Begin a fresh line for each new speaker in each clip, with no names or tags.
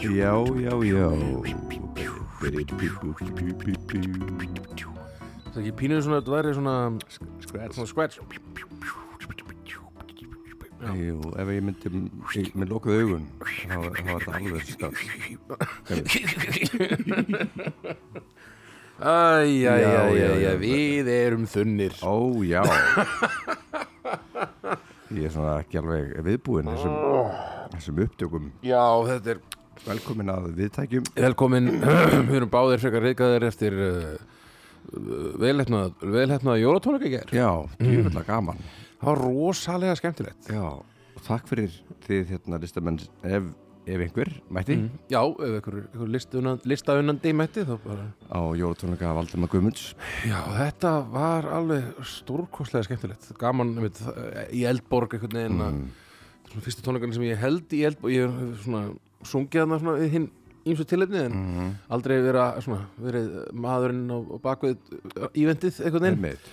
Já, já, já
Það er ekki pínuð svona, það er svona,
Scratch
svona scratch.
Jú, ef ég myndi ég, með lokuð augun þá þá er þetta alveg skall
Æjæjæjæjæ,
já.
við erum þunnir.
Ó, já Ég er svona ekki alveg viðbúinn þessum, þessum upptökum
Já, þetta er
Velkomin að viðtækjum
velkomin, við erum báðir frekar reykaðir eftir uh, velhæfnað, velhæfnað jólatónleika í gerð.
Já, djúvölda gaman
Það var rosalega skemmtilegt.
Mm. Já, og takk fyrir þið hérna listamenn ef, ef einhver mætti
Já, ef ykkur, ykkur listaunandi, listaunandi mætti þá bara...
á jólatónleika Valdema Guðmunds
Já, þetta var alveg stórkostlega skemmtilegt. Gaman, einmitt, það- í Eldborg einhvern veginn
Hérna.
að svona fyrstu tónleikarnir sem ég held í Eldborg, ég hef svona sungið hana svona við hinn ímsu tilefni
Mm.
en aldrei vera, svona, verið maðurinn á, á bakvið uh, ívendið einhvern veginn
Einmitt.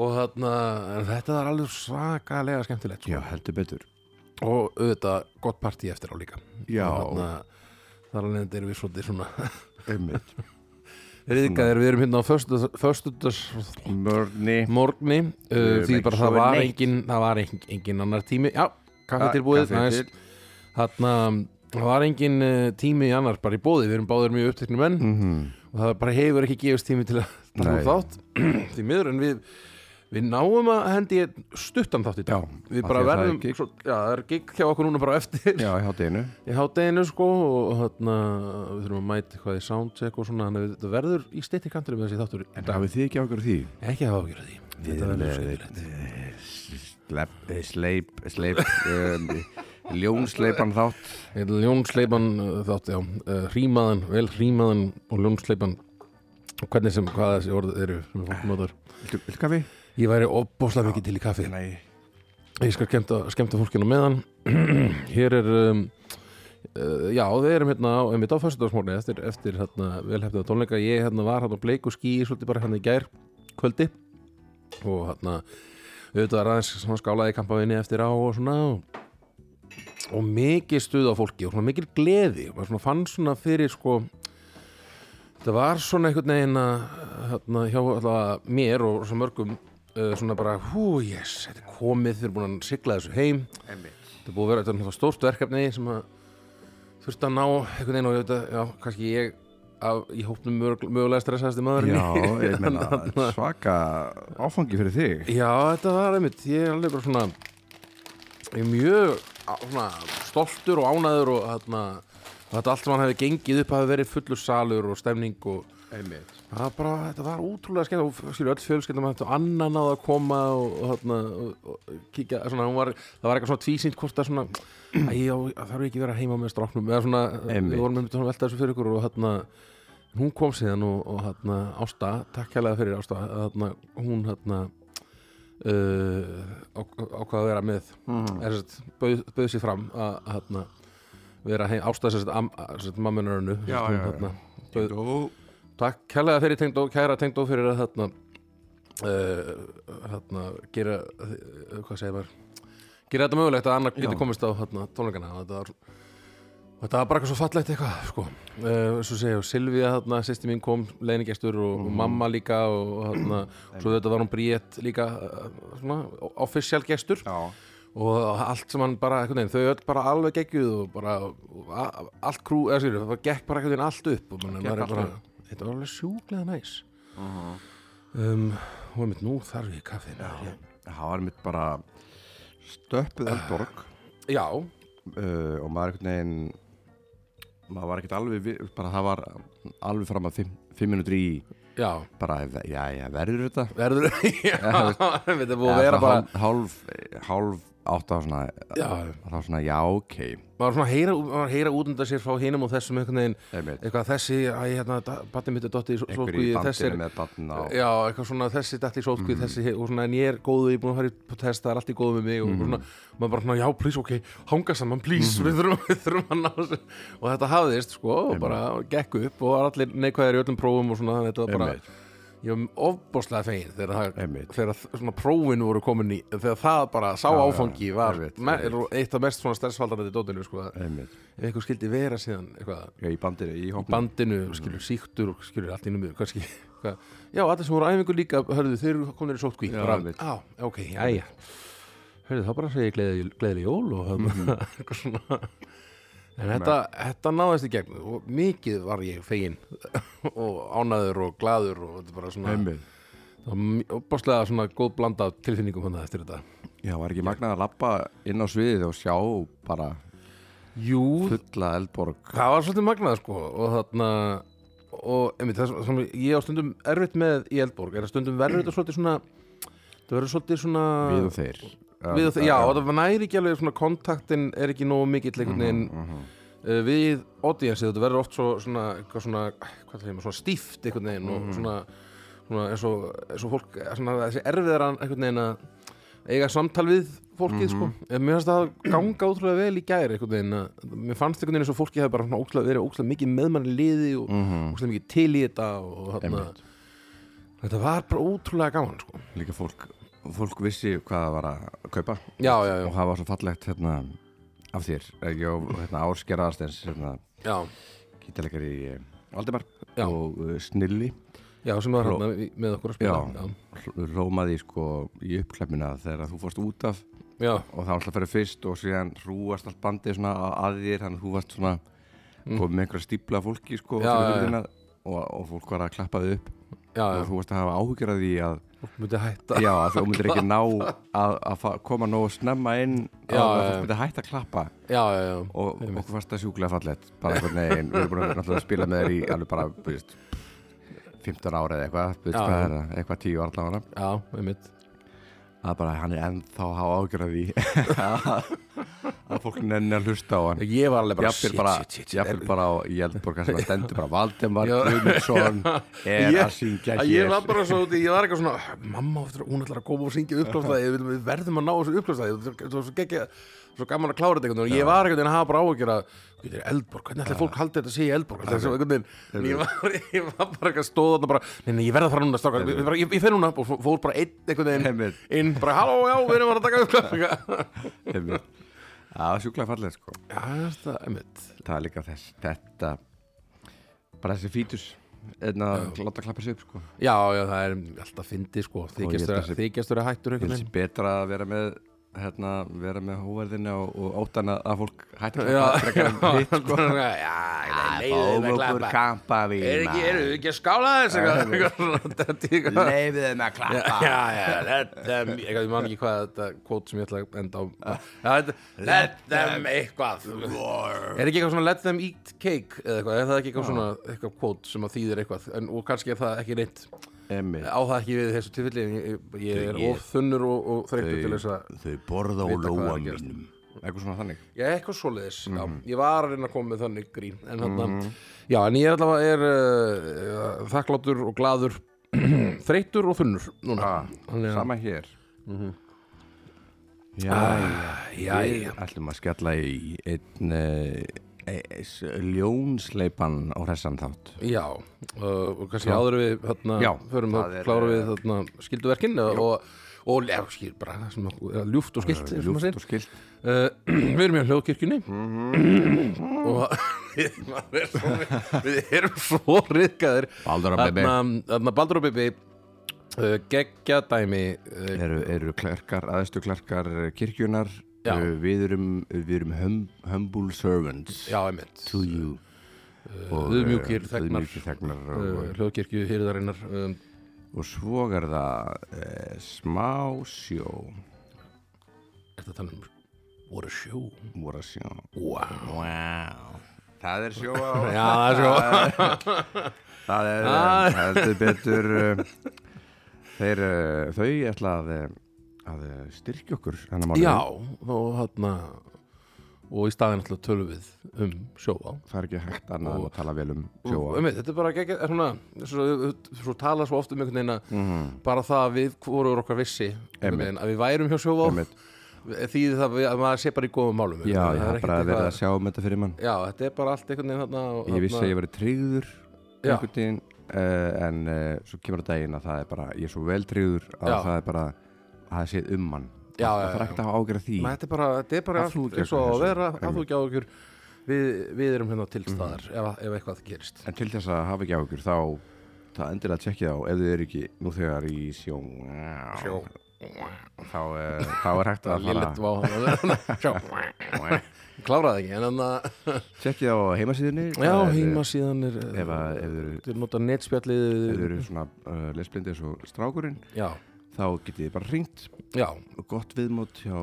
og þarna, en þetta var alveg svakalega skemmtilegt sko.
Já, heldur betur
og auðvitað gott partí eftir á líka
Já.
Og þarna, þar alveg erum við svolítið svona
Hérna. Einmitt
riðgæðir, við erum hérna á föstudags
Mörni
morgni uh,
erum
því
ekki
bara það
sofið
var,
neitt.
engin, það var engin, engin annar tími já, kaffi tilbúið
Kaffi
næs.
til.
þarna það var engin uh, tími annar bara í bóði við erum báðir mjög uppteknum menn
Mhm.
og það bara hefur ekki gefist tími til að taka
Nei.
upp þátt því miður en við við náum að hendi ég stuttan þátt í dag
Já,
við
af því
bara
að það er
verðum
gig.
svo, já, það er gig hjá okkur núna bara á eftir
Já, í hátteginu
í hátteginu sko og þarna við þurfum að mæta eitthvað í soundcheck og svona þannig að þetta verður í steytti kantinum þessi þáttur í
En
dag.
hafið þið ekki ákveður því?
ekki að hafa að gera því þetta verður skemmtilegt
Sleip, eh, sleip, sleip um, Ljónsleipan þátt
Ljónsleipan uh, þátt, já, uh, hrímaðan, vel hrímaðan og ljónsleipan og hvernig sem, hvað þessi orð eru sem fólk notar.
Viltu viltu kaffi?
Ég væri opbóðslega mikið til í kaffi.
Nei
Ég skal skemmta, skemmta fólkinu meðan. Hér er, um, uh, já, við erum hérna á, einmitt á fyrstudagsmórni eftir, eftir hérna, velhefniða tónleika. Ég hérna var hérna á bleiku skí, svolítið bara hérna í gær kvöldi og hérna, auðvitað er aðeins svona skálaði í kampavinni eftir á og svona og og mikið stuð á fólki og svona mikil gleði og maður svona fann svona fyrir sko það var svona einhvern veginn að hérna, hjá allavega mér og svo mörgum uh, svona bara hú, yes, þetta er komið, þið erum búin að sigla þessu heim þetta er búið að vera, þetta er náttúrulega stórt verkefni sem að þurfti að ná einhvern veginn og ég veit að, já, kannski ég af, í hópnum mögul- mögulega stressaðasti maðurinn
Já,
í-
ég menna
Þarna-
svaka áfangi fyrir þig
Já, þetta var einmitt, ég er alveg bara svona ég er mjög á- svona, stoltur og ánæður og þarna, þetta allt sem hann hefði gengið upp hafi verið fullur salur og stemning og
Einmitt
það var bara, þetta var útrúlega skemmt og skilur öll fjölskeldum hættu annan að koma og, og, þarna, og, og kíkja svona, hún var, það var eitthvað svona tvísýnt hvort að svona, æ, já, það þarf ekki að vera heima með stráknum eða svona,
Einmitt.
við vorum einmitt að velta þessu fyrir ykkur og þarna hún kom síðan og, og hérna Ásta, takk hérlega fyrir Ásta hérna, hún hérna uh, á, ákvað að vera með
Mhm.
mm. er, sett, bauð, bauð sér fram að hérna vera heim, Ásta sem sagt hérna, mammunarunu
Já, já, já.
bauð,
Þú
takk kærlega fyrir tengdó, kæra tengdó fyrir að þarna uh, þarna gera uh, hvað segir maður gera þetta mögulegt að annar geti
Já.
komist á þarna tónleikana og þetta var og Þetta var bara eitthvað svo fallegt eitthvað, sko. Uh, svo segja, Silvíða, þarna, sýsti mín kom, leinigestur og, og mamma líka og, og þarna, svo þetta var hún Bríett líka, uh, svona, official gestur
Já
og allt sem hann bara, einhvern veginn, þau öll bara alveg geggjuð og bara og a- allt krú, eða skilur, það bara gekk bara einhvern veginn allt upp og mann, maður
allt
er bara, þetta var alveg sjúklega næs um, og einmitt nú þarf ég hérna. kaffi já.
Það var mitt bara stöppuð eldborg
já,
uh, og maður einhvern veginn maður var ekkert alveg við, bara það var alveg fram að fimm, fimm minútur í
já
bara, já, já, verður þetta
verður, já, einmitt er búið
Já,
að Sko, vera
svona
bara
hálf, hálf, hálf átta og svona,
já,
þá svona, já, ok
maður var svona að heyra, maður var að heyra út undan sér frá hinum og þessum einhvern veginn
einmitt,
eitthvað þessi, æ, hérna, batni mitt er dottið í svo-
einhver í
sólkvíi, þessi er
bandinu með bann á
Já, eitthvað svona þessi dætt í sótkvíð
Mhm.
þessi, og svona en ég er góðu, ég er búin að fara í test það er allt í góðu með mig og
Mhm.
svona maður bara svona, já, please, ok, hanga saman, please við, þurfum, við þurfum að ná þessu og þetta hafðist, sko, og bara gekk upp og var allir neikvæðir í öllum prófum og svona, þannig að þetta var bara
Einmitt.
ég var ofbóðslega fegin þegar, það,
Einmitt.
þegar þ- svona prófin voru komin í þegar það bara sá
Já, já,
áfangi var
einmitt,
me, er
einmitt.
eitt af mest svona stressfaldarandi dótinu sko, að
einmitt
ef eitthvað skildi vera síðan eitthvað,
Já, í bandir, í hópnum
bandinu, skilur síktur og skilur allt innum miður kannski, hvað, já, allir sem voru á æfingu líka hörðu, þeir eru komin í sótkví
Já,
bara,
einmitt.
á, ok, jæja hörðu, þá bara segi ég gleði, gleði jól og mm eitthvað svona en þetta, þetta náðist í gegn og mikið var ég fegin og ánaður og glaður og þetta er bara svona
Einmitt.
það var mj- opaslega svona góð blanda af tilfinningum hann eftir þetta
Já, var ekki magnað að lappa inn á sviðið og sjá bara
Jú,
fulla eldborg
það var svolítið magnað sko og þarna og einmitt, það, sem, ég á stundum erfitt með í Eldborg er að stundum verður þetta svolítið svona það verður svolítið svona
við og þeir
við og þeir, já, og það næri ekki alveg svona kontaktin er ekki nógu mikill
Mhm,
einhvern veginn uh, við audiensið, þetta verður oft svo svona, eitthvað svona, hvað það heim, svona stíft einhvern veginn
Mhm.
og svona, svona eins, og, eins og fólk, svona þessi erfiðaran einhvern veginn að eiga samtal við fólkið
Mhm.
sko, en mér fannst það ganga ótrúlega vel í gæri einhvern veginn að, mér fannst einhvern veginn eins og fólkið hefði bara svona ótrúlega, verið ótrúlega mikið með manni í liði og ótrúlega mikið til í þetta og þarna,
Mhm. Einmitt.
þetta var bara ótrúlega gaman sko,
Líka fólk, fólk vissi hvað það var að kaupa
já, já, já,
og það var svo fallegt hérna af þér, ekki og hérna árskerðarstens hérna
já.
gítalekar í Aldimar
Já.
og uh, Snilli
Já, sem var hérna í- með okkur að spila
Já. hl- rómaði sko í uppklemmina þegar þú fórst út af
já,
og það var alltaf að fyrir fyrst og síðan hrúast allt bandið svona að- að þér þannig að þú varst svona komið með einhverja stípla af fólki sko
Mm. Já,
fyrir
já, já.
hurðina og, og fólk var að klappa þið upp
já, já,
og þú varst að hafa áhyggjur af því að,
fólk myndi hætta
já, að þú myndir ekki ná að, að fa- koma nógu snemma inn
Já,
að
já,
þú
já.
myndir hægt að klappa
Já, já, já,
og okkur fannst það sjúklega fallett bara einhvern veginn, við erum búin að, náttúrulega að spila með þér í alveg bara, þú veist 15 ára eða eitthvað, þú veist
Já,
hvað
já.
er það, eitthvað 10 ára allavega
já, einmitt
að bara hann er ennþá að hafa ágjörð af því að fólk nenni að hlusta á hann
Ég var alveg bara,
Jafnvel bara, jafnvel bara á Jeldborg sem að stendur bara Valdemar
Já.
Guðmundsson er
Ég-
að syngja
Að Ég
hér
var bara svo úti, ég var eitthvað svona Mamma á eftir að hún ætlar að koma og syngja uppklástaði Við við verðum að ná þessu uppklástaði Það var svo geggja, svo gaman að klára þetta einhvern veginn Og Ég var einhvern veginn að hafa bara áhyggjur að Þetta er Eldborg, hvernig ætlar fólk haldið þetta að sé í Eldborg Það er svo einhvern veginn Ég var, ég var bara eitthvað stóð þarna bara Nei, nei, ég verð að fara núna, strákar Ég, bara- ég, ég fer núna og fó- fór bara einn einhvern
Einmitt.
veginn Inn bara, halló, já, við erum að taka uppklástaði
Einmitt. Já, það er sjúklega fallið sko
Já, þetta, einmitt
það er líka þess, þetta bara þessi fítus en að láta klappa sig upp sko
Já, já, það er alltaf fyndi sko Þykjast
ég held að
vera-
sé-
þykjast vera hættur
ég
einhvern
finnst
veginn
betra að vera með hérna, vera með hóverðina og, og óttan að- að fólk hætti að
Já,
klappa frekar en hitt.
sko Já,
Fáum
leiðum að
okkur
klappa
kampa við
Er ekki, eru þið ekki að skála þess eitthvað?
Leifið þeim að
Já,
klappa
já, já, let them eitthvað, ég man ekki hvað þetta kvót sem ég ætla að enda á Já, þetta- Let them eitthvað Er ekki eitthvað svona let them eat cake eða eitthvað, er það ekki eitthvað svona eitthvað kvót sem að þýðir eitthvað, en, og kannski er það ekki reynt
Emmi,
á það ekki við þessu tilfelli en ég, ég er
Þau-
of þunnur og, og þreytur til þess að
þau borða á
Vita hvað er að gerast.
mínum eitthvað svona þannig
Já, eitthvað svoleiðis,
Mhm.
já, ég var að reyna að koma með þannig grín, en hann, já, en ég er allavega, er uh, þakklátur og gladur, þreytur og þunnur núna.
Ah.
Þannig að-
sama hér já,
Mhm. já,
við ætlum að skella í einn eh, eh, s- ljónsleipan á hressan þátt
já, uh, og kannski áður en við, þarna,
Já,
förum
það
að
er, eh,
klára við, þarna, skilduverkin og, og, já, skil, bara, það sem okkur, eða ljúft og skilt, eins og maður
ljúft
segir.
og skilt
Uh, við erum í hljóðkirkjunni
Mhm.
og við, maður er svo, við erum svo riðgæðir
Baldur og Bibbi.
Þarna Baldur og Bibi uh, geggja dæmi uh,
eru, eru klerkar, aðestu klerkar kirkjunar
Já.
Eh, við erum, við erum hum, humble servants
Já, einmitt
to you og,
auðmjúkir
eh,
þegnar.
auðmjúkir þegnar og,
uh, Hljóðkirkju hýrðarinnar um,
og svo er það e, smá sjó
Er þetta tala um What a show
voru að sjá
Wow
wow. það er sjó á
Já, það er svo
Það er
Ah.
eh, heldur betur eh, þeir, eh, þau ætla að, eh, að eh, styrkja okkur þennan mánuð.
Já, og þarna og í staðin alltaf tölum við um sjóa
Það er ekki hægt annað en að tala vel um sjóa
um, þetta er bara geggja, er svona, svo, svo tala svo oft um einhvern veginn að
Mhm. Mm.
bara það að við vorum okkar vissi einhvern veginn, að við værum hjá sjóvá
Einmitt.
því það við- að maður sé bara í góðum málum
Já,
einhvern veginn.
ég
Það
haf
er ekkert
bara verið
eitthvað-
að sjá um þetta fyrir mann
já, þetta er bara allt einhvern veginn þarna, og
Ég vissi að
þarna-
ég verið tryggður
Já.
einhvern veginn uh, en uh, svo kemur að daginn að það er bara, ég er svo veltriður að
Já.
það er bara, að það sé um hann
Já,
það
já,
þarf
já.
ekkert að hafa ágjörð því
Nei, þetta er bara, þetta er bara
Að þú
allt
ekki
eins og
áhyggjur
að vera
þessu.
að þú ekki á okkur við, við erum hérna til staðar ef, ef eitthvað gerist
en til þess að hafa ekki ágjörð þá það endilega tjekkið á ef þið eru ekki nú þegar í sjó
Sjó.
þá, uh, þá er hægt að fara
Lillett var hann að vera Sjá, kláraði ekki en þannig að
tjekkið á heimasíðinni
Já,
það er,
heima síðan er
ef að- ef þið eru-
Þið nota netspjallið
ef þið eru svona uh, lesblindi eins og strákurinn
Já,
þá getið þið bara ringt
já
gott viðmót hjá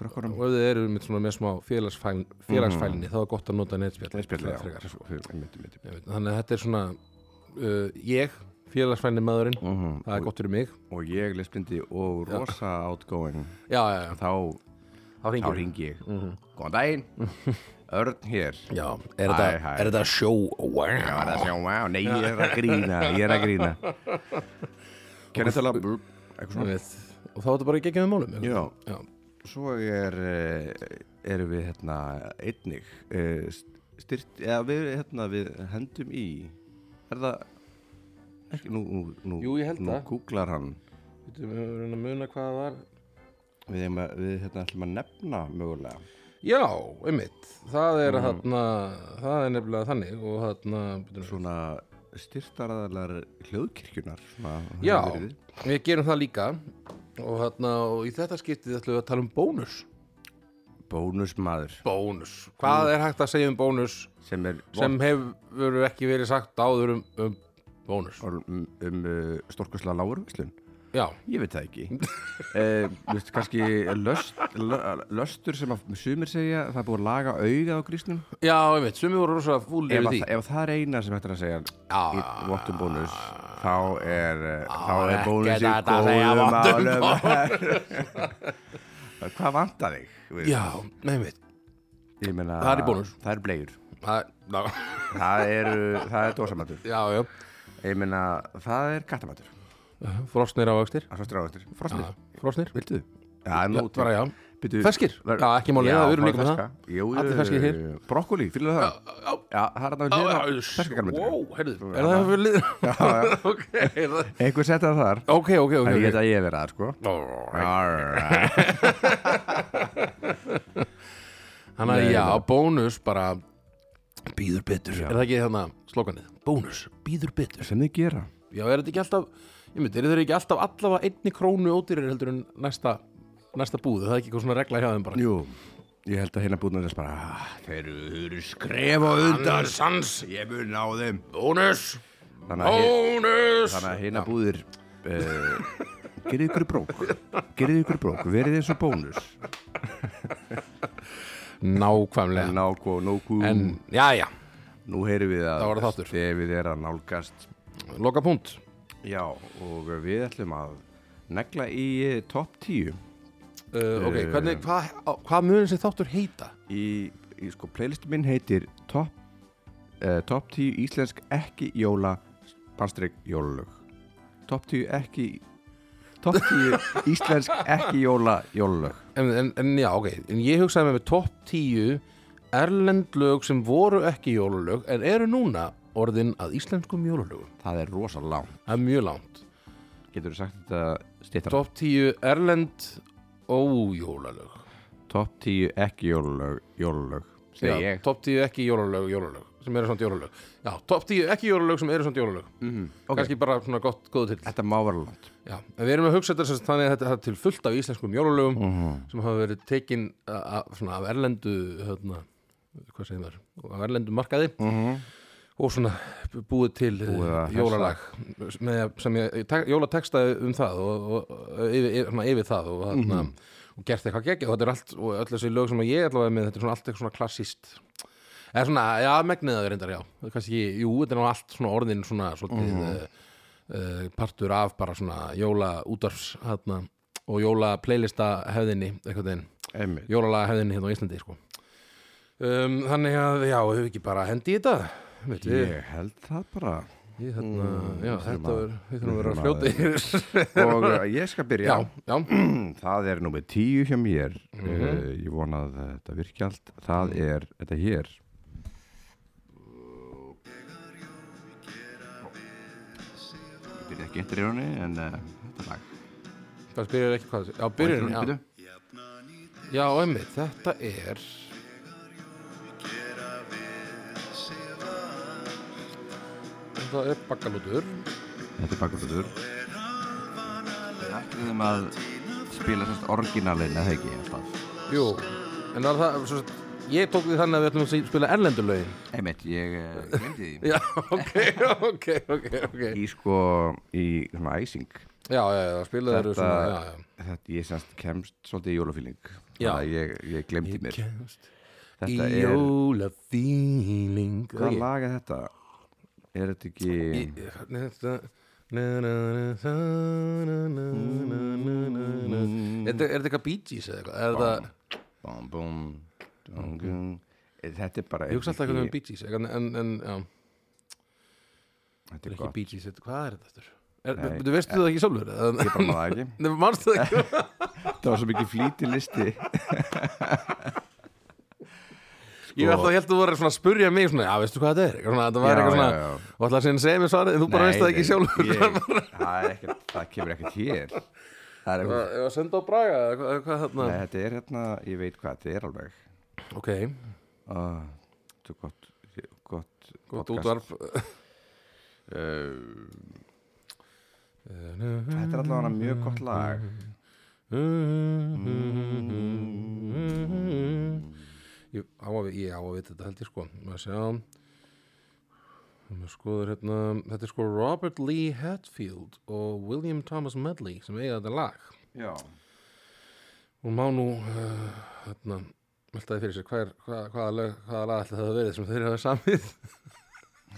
krakkarum
og ef þið eru með, svona, með smá félagsfælni,
Mm.
félagsfælni þá er gott að nota netspjall
lesbjöldi
Það er frekar, sko.
það
Ég veit, Þannig að þetta er svona uh, ég, félagsfælni maðurinn
Mhm.
það er gott fyrir mig
og ég lesblindi og rosa outgoing
Já, já, já,
þá,
þá
þá
ringir
ringi ég
Mhm.
góðan daginn, Örn hér
Já,
Hæ,
er
hæ.
þetta- er þetta sjó
Já, það er að sjá, wow, nei, ég er að grína ég er að grína kennið tala brr, eitthvað
Ég
svona
veit, og þá er þetta bara í geggjum málum eitthvað.
já,
Já.
svo er eh, erum við hérna einnig eh, styrt, eða við hérna við hendum í er það ekki, nú, nú, nú,
Jú, ég held
nú
það.
googlar hann
Við erum að reyna að muna hvað það var
við, eigum að- við hérna ætlum að nefna mögulega
Já, einmitt Það er mm. það er nefnilega þannig og þarna, byrjum,
svona styrtaraðalar hljóðkirkjunar svona, hefur
Já,
verið.
við gerum það líka og þarna, og í þetta skiptið ætlum við að tala um bónus
bónusmaður
Bónus, hvað er hægt að segja um bónus
sem er
sem hefur ekki verið sagt áður um, um bónus
um, um, um uh, stórkosla lágurvislun
Já,
ég veit það ekki uh, veist, kannski löst, lö- löstur sem að sumir segja það er búið að laga augað á grísnum
já, einmitt, sumi voru rosa fúlir
ef,
við
að,
því
ef það er eina sem hægt er að segja í
Já,
vottum bónus þá er, uh, þá er
Ah, ekki
bónus í
hægt að segja
góðum
vottum
málum hvað vantar þig? Við-
já, einmitt
Ég meina,
Það er í bónus.
það eru bleiur
Það, ná,
það er, það er dósamatur
Já, já,
ég meina, það er kattamatur
frosnir ávöxtir
það er svo stráðastur, frosnir
Frosnir
Viltu? Já,
Já,
nú
bara já
Byrju,
Ferskir? Já, ekki máli, það erum
bara
líka með
ferska. Jú, jú,
Allir ferskir hér.
Brokkoli, fylgir það?
já.
Já, það er hann að hérna ferska karmelur.
Wow, herðu, er það fyrir liður? Já, já Ok, er það-
Einhver setja það þar.
ok, ok, ok
En ég veit að ég vera það, sko.
Þannig
Alright.
að já, bónus bara Býður betur Er það ekki þannig slókanið? Bónus, býður betur
Sem þið gera.
Já, er þetta ekki alltaf Ég myndi, er þetta ekki alltaf allavega einni krónu ódýrir heldur en næsta næsta búð, Er það er ekki eitthvað svona regla hjá þeim bara
Jú, ég held að hérna búin að þess bara, ah, þeir eru skref og undan sans, ég mun á þeim.
Bónus,
Þannig að, hi-
bónus
þannig að hérna búðir, uh, gerið ykkur brók, gerið ykkur brók, verið eins og bónus.
Nákvæmlega
Nákvæm, nókvæm.
En, já, já,
Nú heyrum við
Það var
að
þáttur.
stefið er að nálgast
loka punkt
Já, og við ætlum að negla í eh, topp 10
Uh, ok,
Eh.
hvernig, hvað hva mun þessi þáttur heita?
í, í sko, playlistu minn heitir topp eh, top 10 íslensk ekki jóla bannstrygg jólalög topp 10 ekki topp 10 íslensk ekki jóla jólalög
En, en, en já, ok, en ég hugsaði með með topp 10 erlend lög sem voru ekki jólulög en eru núna orðin að íslenskum jólulögum.
Það er rosa langt
Það er mjög langt.
Getur þú sagt þetta stýttar
Topp 10 erlend ójólalög.
Topp 10 ekki jólalög jólalög
Já,
segi ég
Topp 10 ekki jólalög, jólalög sem eru samt jólalög. Já, topp 10 ekki jólalög sem eru samt jólalög.
mm,
Kannski bara svona gott, góðu til.
Þetta má vera langt
Já, en við erum að hugsa þetta sem sagt þannig að þetta það er til fullt af íslenskum jólalögum sem hafa verið tekin a- a- svona af erlendu hérna, hvað segir maður, af erlendu markaði Mhm.
-hmm.
og svona búið til
Búið að
búið jólalag með, sem ég, tek, jólatekstaði um það og, og, og yfir, yfir, svona yfir það og, þarna,
Mhm.
og gert eitthvað geggjað og þetta er allt og öll þessi lög sem ég allavega er með þetta er svona allt eitthvað svona klassist eða svona, já, megnið það er reyndar, já kannski, jú, þetta er nú allt svona orðin svona svolítið
Mhm.
mm partur af bara svona jóla útvarfs hérna, og jóla playlista hefðinni, eitthvað þeim
Einmitt
jólalaga hefðinni hérna á Íslandi sko. um, þannig að já, hefur ekki bara hendi í þetta veit við
Ég held það bara
ég, hérna, já,
þurfum
þetta
að-
er, við þurfum að vera
þurfum að-
fljóti já,
Og eh, ég skal byrja
já,
Það er númið tíu hjá mér
Mhm.
mm Ég vona að þetta virki allt Það er, þetta hér byrja ekki eftir í rauninni en uh, þetta lag
Það byrjar ekki hvað Já, byrjun, já,
Byrjun,
já einmitt, þetta er Þetta er bakkalútur
byrju. Þetta er bakgrundur Við ætlum að spila sérst orginalinn eða ekki alltaf
Jú, en það er það svo, sagt, Ég tók því þannig að við ætlum að spila erlendulögin
Einmitt, ég uh, glemdi því
Já, ok, ok, ok, ok
Í sko, í svona æsing
Já, já, já, spilaður
Þetta-
svona, já, já
Þetta ég sérst kemst svolítið í jólafíling
Já.
Þannig að ég, ég glemdi mér
kemst
Þetta
í
er,
jólafíling
hvað lag er þetta? Er þetta ekki
Er Mm. þetta er þetta eitthvað Bee Gees eða eitthvað? Er það,
Bum, bum, dum, dum. Eh, Þetta er bara
ég hugsa alltaf eitthvað um Bee Gees eitthvað, en, en já,
Þetta
þetta er
er
ekki
gott,
Bee Gees þetta- hvað er þetta aftur? Er,
Nei.
Þú veistu það ekki sjálfur? eða-
ég bara maður það ekki
Nei, manstu það ekki?
Það var svo mikið flýti listi
Ég held að þú voru svona að spurja mig svona, já, veistu hvað þetta er? Eitthvað Svona, þetta var
Já, já,
eitthvað svona,
já.
og ætlaði að segja segja mér svarið, en þú bara veist það ekki sjálfur
ég, það, er ekkert, það kemur ekkert hér Það er eitthvað
Ég var að senda á Braga, eða hvað- eða hvað
Nei,
þarna
þetta er hérna, ég veit hvað þetta er alveg
Ok,
Ah, Þetta er gott gott,
gott
podcast.
útvarp
Uh, Þetta er allavega mjög gott lag
Ég á að, vi- ég á að vita þetta held ég sko Maður sjá Maður skoður hérna Þetta er sko Robert Lee Hatfield og William Thomas Medley sem eiga þetta lag
Já,
og má nú uh, hérna veltaði fyrir sér hver, hva, hvaða, lög, hvaða lag ætli það hafa verið sem þeir hafa samið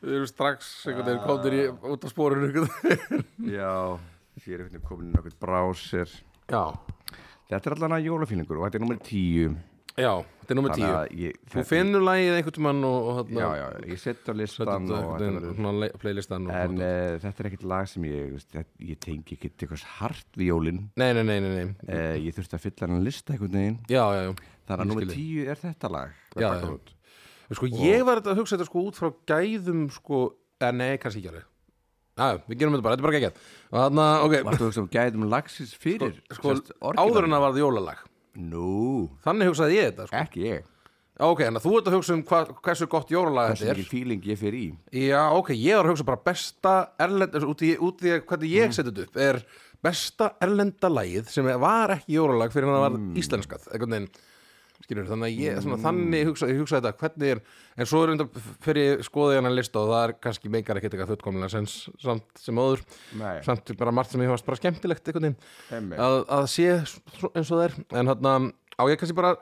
Þeir eru strax einhvern veginn komnir í út á spórinu einhvern veginn.
já Ég er einhvern veginn komin inn á einhvern brásir
Já,
Þetta er allavega jólafílingur og þetta er nummer tíu
já, þetta er nummer tíu
ég
Þú
þetta-
finnur lagið einhvern tímann og, og
Já,
hérna
já, ég setja á
Þetta
listan og þetta
er
verður
svona le- playlistan og
En
svona.
uh, þetta er ekkert lag sem ég, veist, þetta- ég tengi ekki til eitthvað hart við jólin.
Nei, nei, nei, nei, nei.
Uh, ég þurfti að fylla hann að lista einhvern veginn.
Já, já, já
Þannig að
Ég
nummer
skil þig.
tíu er þetta lag.
Já,
Þetta
já.
út.
Sko, ég var þetta að hugsa þetta sko út frá gæðum sko, eða nei, kannski ekki alveg Já, við gerum þetta bara, þetta er bara geggjað Og þarna, ok,
Varstu að hugsa um gæðum lagsins fyrir?
sko, áður en að varð jólalag
Nú,
Þannig hugsaði ég þetta, sko
ekki ég.
Já, ok, en þú ert að hugsa um hva, hversu gott jólalag
Þessi
þetta er
mikið feeling ég fyrir í.
Já, ok, ég var að hugsa bara besta erlenda, út í, út í hvernig ég seti þetta upp er besta erlenda lagið sem var ekki jólalag fyrir hann að var íslenskað einhvern veginn skilur, þannig að ég, svona, þannig hugsa, ég hugsa þetta hvernig er, en svo er undar fyrir skoðið hann að lista og það er kannski meikar ekkert eitthvað fullkomlega sens samt sem áður
Nei.
samt bara margt sem ég hafast bara skemmtilegt einhvern veginn
Einmitt.
að, að sé svo- eins og það er en hann á ég kannski bara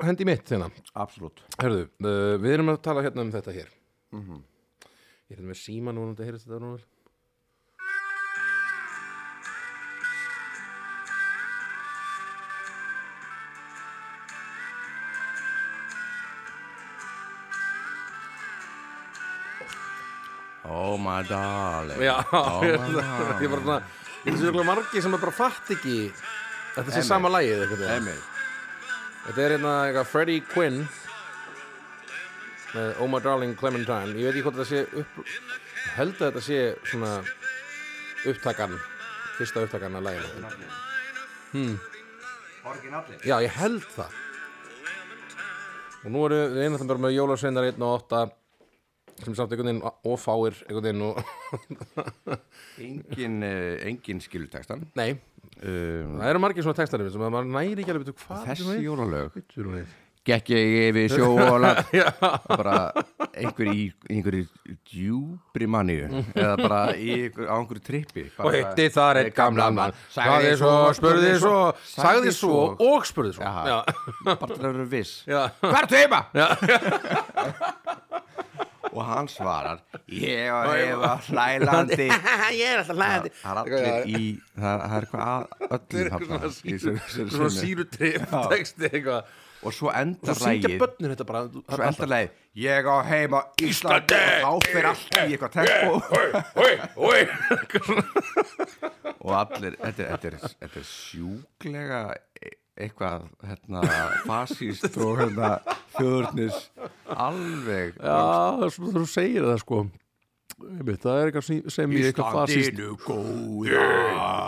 hendi í mitt hérna
Absolutt.
Herðu, uh, við erum að tala hérna um þetta hér Mhm. Ég er hérna með síma núna þetta heyrist þetta nú vel
Oh my darling.
Já,
Oh my
ég ég er bara
darling.
svona Ég er svo ykkur margir sem er bara fatt ekki Þetta sé
Emil.
sama lagið eitthvað veginn.
Emil.
Þetta er hérna eitthvað Freddie Quinn með Oh My Darling Clementine Ég veit ekki hvort þetta sé upp ég held að þetta sé svona upptakan fyrsta upptakan að laginu Hmm.
Orginallin.
Já, ég held það Og nú erum við einhvern bara með jólasveinar 1 og 8 sem samt einhvern veginn og fáir einhvern veginn og
Engin, uh, engin skilur textan.
Nei,
Um,
það eru margir svona textar sem að maður næri ekki alveg betur hvað
þessi jólalög.
jólur
gekk ég yfir sjó og land
Já,
bara einhver í einhverju djúbri manniu eða bara í einhver, á einhverju trippi bara, "Eh,
og hitti þar eitt gamlan mann sagði svo, spurði svo, sagði svo og spurði svo
Jaha. bara til að vera viss
já,
hvað ertu heima? og hann svarar ég og heima hlælandi
ég er alltaf hlæðandi
það er allir í það, það er eitthvað að öllum þarna
svona
í þessu-
síru
þessu
svona
sinni.
síru trip texti eitthvað
og svo
Svo
endar
syngja
lægið
börnin þetta bara
svo endar lægið ég á heima Íslandi og þá fyrir allt í eitthvað tempo
Hoi,
og allir, þetta, er- þetta, er, þetta er sjúklega e- eitthvað hérna, fasíst og hérna, þjóðurnis alveg
Já, það er svona þú segir það sko einmitt, það er eitthvað sem- sem í eitthvað fasist
góða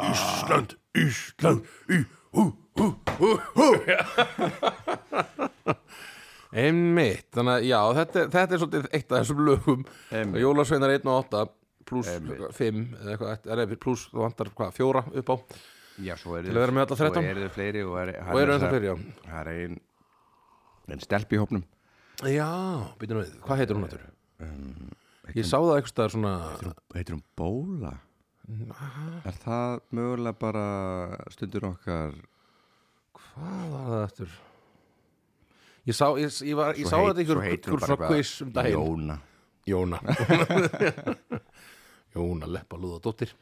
Ísland, Ísland í, hú, hú, hú, hú Einmitt, þannig að já, þetta, er- þetta er svolítið eitt af þessum lögum
Einmitt.
Jólasveinar 1 og 8 pluss
Einmitt.
5 eða eitthvað, eitt- eða pluss þú vantar hvað, fjóra upp á
Já, svo eru
Til að vera með alla 13.
Svo eru þau fleiri og, er,
og eru ennþá fyrir, já
Það er ein, ein stelp í hópnum
Já, býtum við, hvað heitir hún þetta? Ég sá það eitthvað svona
Um, Heitir hún Bóla? Er það mögulega bara stundur okkar
Hvað var það eftir? Ég sá, ég, ég var, ég sá
Svo heit-
þetta
svo
ykkur,
heitir hún
ykkur
bara
svona
eitthvað
quiz um daginn
Jóna
Jóna Jóna leppa lúða dóttir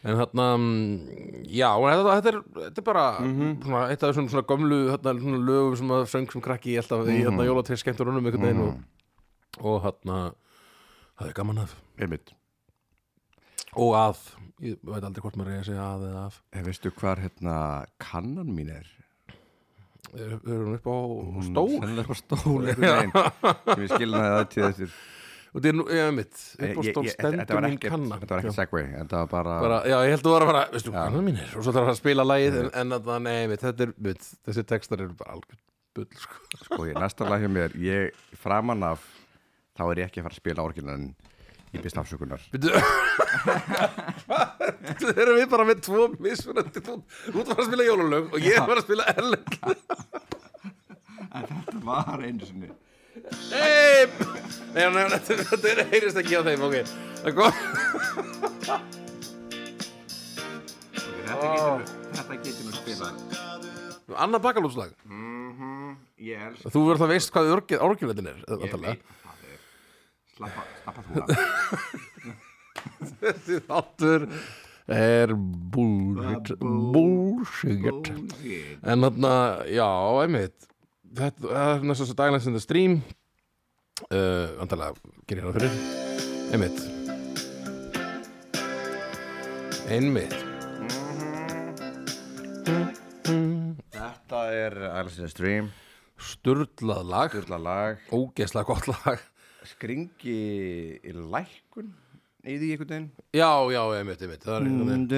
En þarna, mm, já, og þetta, þetta, er, þetta er bara
Mhm.
svona, eitt af þessum svona gömlu þarna, svona lögum sem að söng sem krakki ég alltaf í
Mhm.
þarna jólatrið skemmtur honum einhvern veginn og, og þarna, það er gaman að
Einmitt
og að, ég veit aldrei hvort maður er að segja að eða af,
Eh, Veistu hvar hérna kannan mín er?
er, er hún upp á
Mhm.
stól
Sennilega upp á stól einhvern veginn sem ég skilnaði það til þessir
og þetta er nú, ég mitt, upp
Eh,
á
Ég-
stól
ég- þetta
stendur
var
mín
ekkert-
kanna
Þetta var
Já.
ekkert segway en það var bara,
bara, já, Mm. ég held að þú var að fara, veistu, hvað hann mínir og svo þarf að spila lagið, en, en að það, nei, mitt, þetta er mitt, þessi textar eru bara algjörn bull, sko,
sko ég næsta lag hjá mér ég framan af þá er ég ekki að fara að spila orginan í byrstafsökunar
byrju hvað, erum við bara með tvo mismunandi, þú, þú ert að fara að spila jólalög og ég var að spila erlend
Þetta var einu sinni
nei, nei, nei, nei, þetta er heyrist ekki á þeim, ok það kom,
Þetta getur nú spila
annað bakalúslag
Ég er
þú verður það veist hvað orginleitin er, vantarlega
Slappa, slappa þú af
þessi þáttur er bullshit bullshit en þarna, já, einmitt þetta það er næst þess að daglæns in the stream uh, andalega gerir hérna fyrir einmitt einmitt
Þetta er Alice in the Stream
sturlað lag,
Sturla lag
ógeðslega gott lag
Skringi í lækun Í því einhvern veginn
já, já, einmitt, einmitt það er einhvern veginn Já,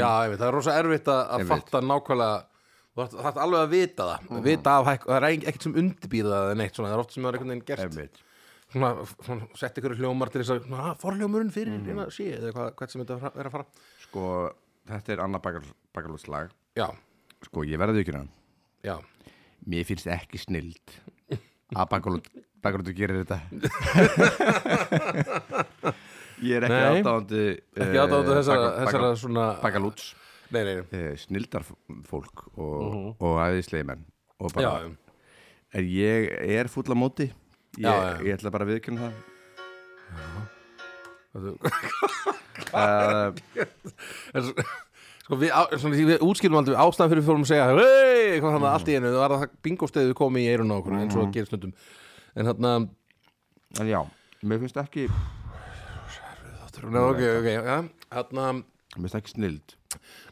Já,
einmitt, Mm. það er rosa erfitt að- að
Einmitt.
fatta nákvæmlega þú þarf þarft alveg að vita það vita af hækku, það er ein- ekkert sem undirbýða það eða neitt, svona, það er oft sem það er einhvern veginn gert
einmitt
svona, svona sett ykkur hljómar til þess að svona, "Ah, forhljómurinn fyrir mm -hmm. sé eða hvað, hvað sem þetta fra- er að fara
Sko, þetta er annað bakalúts lag
já,
Sko, ég verði ekki hérna
já,
Mér finnst ekki snild að bakalútur gerir þetta Ég er ekki
Nei.
aðdáðandi
ekki uh, aðdáðu þessara, þessara svona
bakalúts Eh,
nei, nei, nei.
snildarfólk og, og æðislega menn og bara,
Mhm. já,
en ég er fúll á móti ég,
Já, já.
ég ætla bara að viðkynna það
Þetta-
uh,
en svo- Eh, sko við, á- svona, því við útskilum aldrei ástæðan fyrir við fórum að segja hei, hvað þannig allt í einu, það var það bingostöðu við komum í eirun á okkur, eins og gerist stundum en þarna,
en já, mér finnst ekki mér
Nei, ok, ok, ja, þarna
finnst ekki snild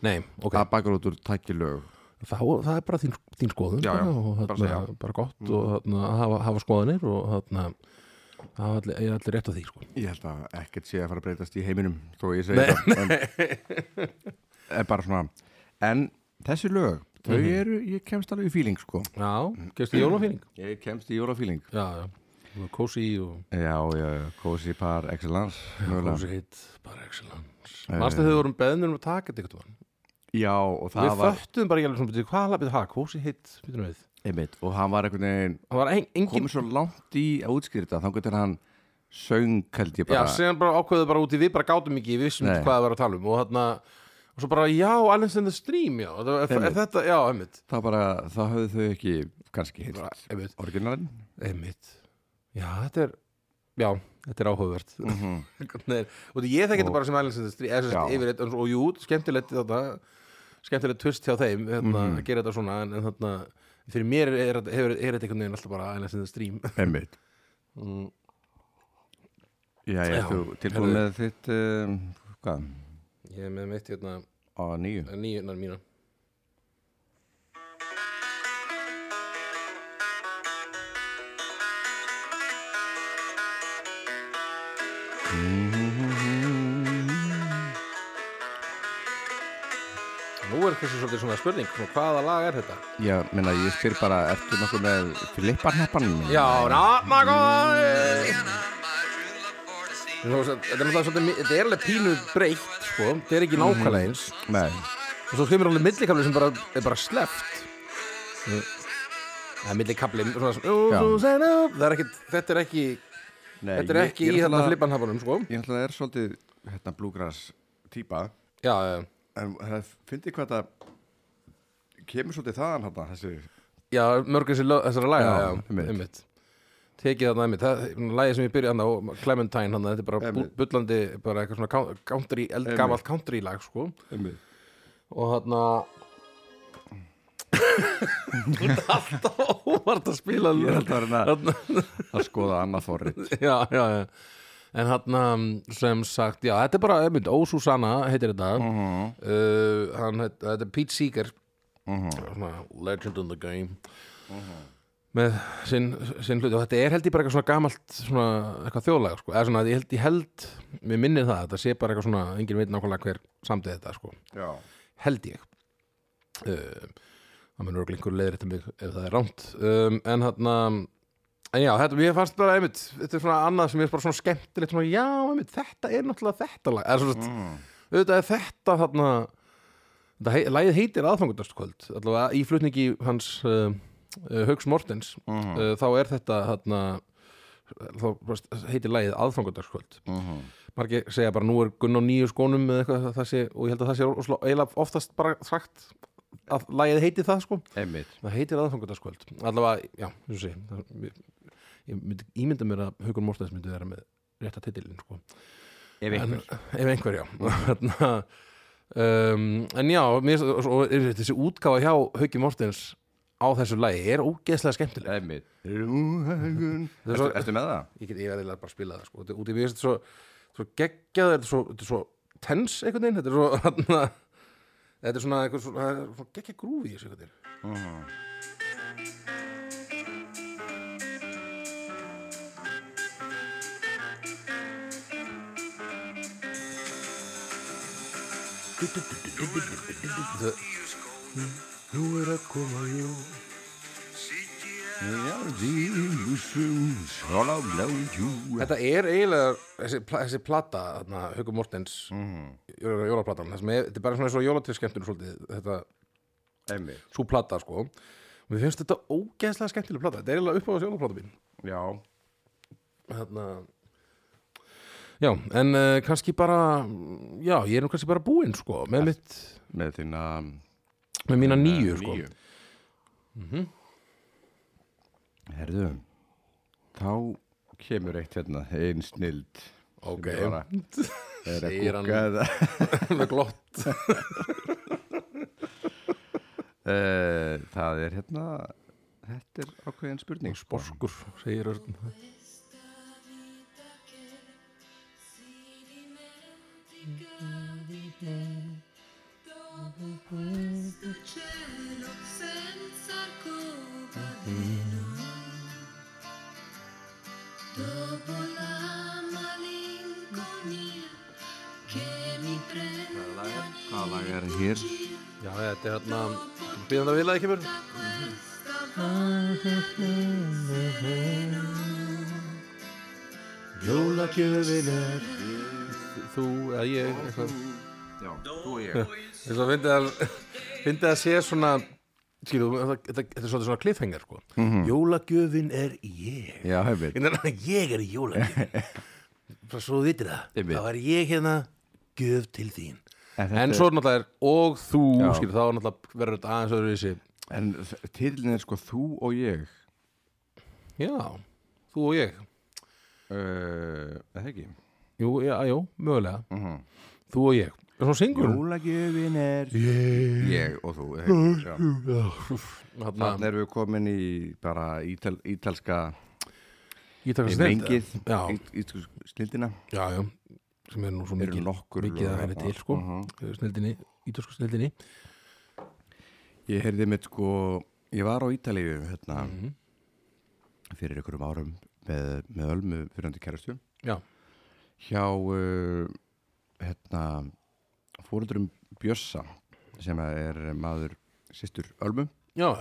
nei, ok,
að bakalútur takki lög
Þá, það er bara þín, þín skoðun
Já, Mm. já,
bara, og,
bara
þarna,
segja.
bara, gott og þarna, að hafa, hafa skoðanir og þarna hafa allir, eiga allir rétt á því sko.
ég held að ekkert sé að fara að breytast í heiminum þó ég segi það en, en bara svona en þessi lög, þau eru ég kemst alveg í feeling sko
Já, gefstu jólafýring
ég kemst í jólafíling
Já, já, og kósi og
já, já, cozy par excellence mögulega. Eh.
kósi hitt, bara excellence Manstu þegar við vorum beðnir um að taka þetta eitthvað
já, og það
Við
var
föttum bara ekki alveg svona byrju, hvað lapið það, kósi hitt, byrjum við
einmitt, og hann var einhvern veginn
Það var ein, engin,
komið svo langt í að útskýra þetta þá getur hann söng held ég
já,
bara
sem bara ákveðu bara út í við bara gátum ekki, við vissum
Nei.
ekki hvað það var að tala um og þarna, og svo bara, já, Alice in the Stream, já, þetta- er, er
Einmitt.
þetta, já, einmitt
þá bara, þá höfðu þau ekki kannski
Bara,
hitt
einmitt
orginalinn
Einmitt. Já, þetta er Já, þetta er áhugavert mm -hmm. Og því ég þekki þetta bara sem ælinsins
Já.
yfir, eitt- og jú, skemmtilegt þetta, skemmtilegt tvist hjá þeim hérna, að gera þetta svona en, en þarna, fyrir mér er, er, þetta- hefur, er þetta einhvern veginn alltaf bara ælinsins strím
einmitt já, já,
Mm. Já,
þú tilbúin
heyrðu.
með þitt um, hvað,
Ég er með mitt hérna
á nýju
nýjunar mína Mhm. Nú er þessi svolítið svona spurning, svona, hvaða lag er þetta?
Já, minna, ég spyr bara, ertu nokkuð með Filipparnappan?
Já, náma góði Þetta er náttúrulega svolítið, mi- þetta er alveg pínu breytt, sko, þetta er ekki nákvæmlega eins
Nei,
og svo kemur alveg millikabli sem bara er bara sleppt Mm. það er millikabli svona,
Já.
svona, það er ekki, þetta er ekki
nei
þetta er ekki
ég,
í
ég
hérna
náttúrulega-
flippanhafanum sko.
Ég ætla að er svolítið, hérna, blúgras típa
já, já,
En það fyndi hvað það kemur svolítið þaðan hérna, þessi
já mörg þessi lög- þessara laga
Já,
já,
einmitt.
einmitt tekið þarna einmitt, það lagið sem ég byrja hann á Clementine, hann, þetta er bara
Einmitt.
bu- bullandi bara eitthvað svona coun- country, eldgamalt country lag sko.
Einmitt.
og hann alltaf óvart að spila
Ég er
lög.
alltaf að reyna að skoða annað forrið
já, já, já En hann sem sagt, já, þetta er bara einmitt, Ó Susanna heitir þetta
Mm.
uh hann, heit- Þetta er Pete Seeger mhm. svona Legend in the game með sinn, sinn hluti og þetta er held ég bara eitthvað svona gamalt svona eitthvað þjóðlega sko. eða svona, ég held, ég held, mér minnir það þetta sé bara eitthvað svona, enginn veit nákvæmlega hver samtið þetta, sko,
Já,
held ég uh, það mun örgulega einhver leiðir þetta mig ef það er rámt um, en hann En já, þetta, mér fannst bara einmitt, þetta er svona annað sem er bara svona skemmtilegt, svona já, einmitt, þetta er náttúrulega þetta lag, eða svona, mm. auðvitað er þetta þarna, þetta hei, lagið heitir aðfangundastkvöld, allavega í flutningi hans uh, uh, Hauks Mortens, uh, þá er þetta þarna, þá bara heitir lagið aðfangundastkvöld.
Mm-hmm.
Margir segja bara nú er Gunn á nýju skónum eða eitthvað það sé, og ég held að það sé ósla- eiginlega oftast bara sagt að lagið heiti það sko.
einmitt
Það heitir aðfangadagskvöld Allavega, já, þú sé það- Ég ég myndi ímynda mér að Haukur Mortens myndi vera með rétta titilin sko.
Ef einhver
Ef einhver, já Þarna, um, En já, mér, og, og, er þessi útgáfa hjá Hauki Mortens á þessu lagi er ógeðslega skemmtileg
Einmitt Rúhagun Ertu
svo-
ertu með það?
Ég get ég verðilega bara að spila það sko. Þetta er Út í mér er þetta svo, svo geggjað Þetta er svo, þetta er svo tens einhvern veginn Þetta er svo þarna, Þetta er svona, einhver- svona, það er svona geggja grúfi í þessu einhvern veginn
Mm-hmm.
Nú er að koma jól
Já, dílusum Sjóla blájú
Þetta er eiginlega þessi, pla, þessi plata, þarna, Haukur Mortens jóla- jólaplatan, það sem er, þetta er bara svona eins og jólatilskemmtun svolítið, þetta,
Einmitt
svo plata, sko og mér finnst þetta ógeðslega skemmtileg plata þetta er eiginlega uppáðast jólaplata mín
Já
þarna Já, en uh, kannski bara já, ég er nú kannski bara búinn, sko með mitt,
Með þína
með mína nýju, sko Mm-hmm.
Nýju Herðu Þá kemur eitt hérna Einn snild
Ok.
Er að
Segir hann.
kúka eða
með glott
Eh, Það er hérna Þetta er ákveðin spurning sko.
borskur, segir Örn
Questo cielo senza arcobaleno Dopo la malinconia che mi prende
Hvaða lag er hér?
Já, þetta er hérna, býðum það vilja ekki mér
da questa valle
Jólagjöfin er þú eða ég eitthvað.
Já, þú og ég
þess að fyndi að fyndi að sé svona skilu, þetta, þetta þetta er svolítið svona kliffhengar sko. jólagjöfin er ég
Já, hefur
Ég meina, ég er í jólagjöfin bara svo þú vitir það
Einmitt.
þá er ég hérna gjöf til þín
En,
en
en,
svo náttúrulega er og þú
Já.
skil, þá er náttúrulega verður þetta aðeins öðru þessi
en tilin er sko þú og ég
já, þú og ég
uh, Það ekki
jú, já, já, mögulega
Mhm.
þú og ég, er svona singur
Jólagjöfin er ég, og þú er það ekki? Já.
þannig
Þarna erum við komin í bara ítal, ítalska
ég taka
mengið
já,
ítalsku snildina
já, já sem er nú svo
Eru
mikil,
nokkur
mikið
lög Mhm.
að vera
þarna.
til sko, snildinni, ítösku snildinni
Ég heyrði mitt sko ég var á Ítalíu hérna,
Mhm.
fyrir einhverjum árum með, með Ölmu fyrirandi kærastu
já,
hjá uh, hérna fórundurum Bjössa sem að er maður sýstur Ölmu
Já,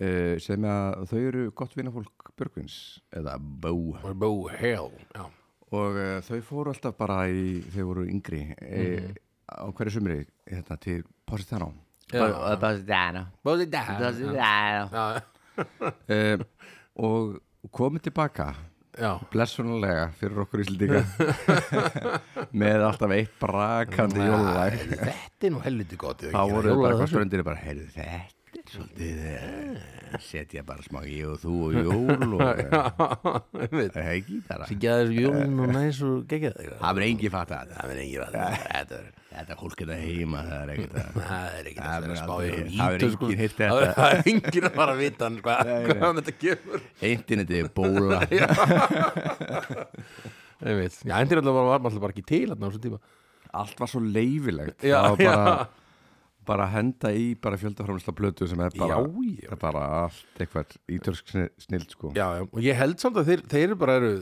eh,
uh, sem að þau eru gott vinafólk Björgvins eða Bó
var bó hell Já,
og uh, þau fóru alltaf bara í þau voru yngri mm á hverju sumri hérna, til Positano
já
Positano.
Bóði dag
Positano.
Já,
uh, og komið tilbaka
já
blessunulega fyrir okkur íslendinga með alltaf eitt brakandi jólulag
Þetta er nú helviti gott
þá voru bara hvað ströndir bara, heyrðu þetta er svolítið eh, setja bara smá ég og þú og jól og eh,
Sýkja
það er ekki bara
þessu jólun og næs og gegja þig
það verður engi fatt að það verður engi fatt þetta er þetta er fólk þetta heima það er ekkert að
Það er ekki
Það
að
er
spá í
aldrei-
einhverjum
það er
ítöl, sko.
enginn heyrt
Það er-
þetta.
Það er enginn að fara að vita hann hvað
Nei, nei.
hvaðan þetta kemur
internetið er bóla
Ég veit, já, endur alltaf var maður alltaf bara ekki til þarna á þessum tíma
allt var svo leifilegt
Já,
það var bara
já.
bara henda í bara fjöldaframlisla blötu sem er bara,
Já, já.
það er bara allt eitthvað ítölsk sni- snild sko
Já, já, og ég held samt að þeir, þeir bara eru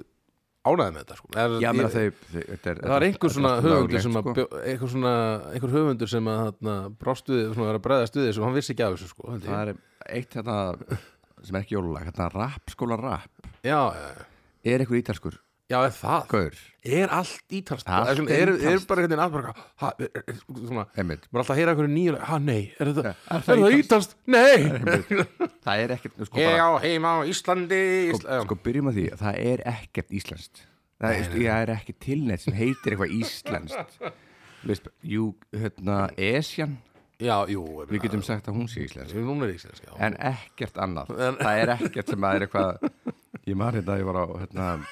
ánæði með þetta sko. er,
Já, meina
ég-
þeir, þeir þetta er,
Það er einhver svona höfundur sem að
sko.
sko. einhver, svona, einhver höfundur sem að hana, brástuði, svona var að bregðast við þessu og hann vissi ekki af þessu sko held ég.
Það er eitt hérna sem er ekki jólulag, hérna rap, skóla rap
Já, já, já,
Er einhver ítalskur?
já, er það
Gaur,
Er allt ítalst
Sko- Allt
er, svona-
er
er, er
ítalskt.
bara einhvern veginn að bara ha, er, er, svona,
einmitt
maður er alltaf að heyra einhverju nýju Ha, nei, er þetta,
Ja,
er það ítalst? Nei
Það er ekkert, sko,
Ég
bara,
á heima á Íslandi Ísla,
sko, sko byrjum að því Það er ekkert íslenskt Það er, sko, það er ekki tilnætt sem heitir eitthvað íslenskt Þú Veist, jú, hérna, Esjan
Já, jú ég
Við
meina,
getum sagt að hún sé íslensk
Hún er íslensk, sko, já
En ekkert annað Það er ekkert sem að er eitthvað Ég man hérna, ég var á, hérna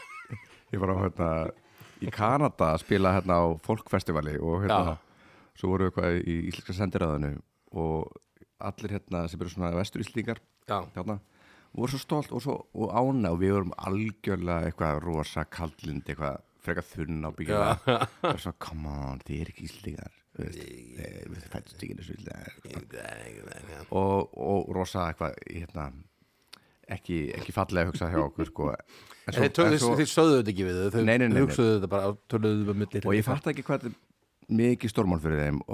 Ég var á, hérna Í Kanada að spila hérna á fólkfestivali Og hérna, svo voru eitthvað í íslenska sendiræðinu Og allir hérna sem eru svona vestur íslendingar
Já,
hérna, voru svo stolt og, svo, og ána og við vorum algjörlega eitthvað rosa kaldlind eitthvað frekar þunn á byggjala og svo come on, þið er ekki íslendingar þú veist, eh, við fættum ekki þessu íslendingar og, og rosa eitthvað hérna, ekki, ekki fallega hugsa hjá okkur sko. en,
en þeir, töðu, þeir sögðu þetta ekki við þau, þau
Nei, nei, nei, nei.
hugsuðu þetta bara töluðu um millir
og ég fatt ekki hvað þetta er mikið stórmál fyrir þeim og,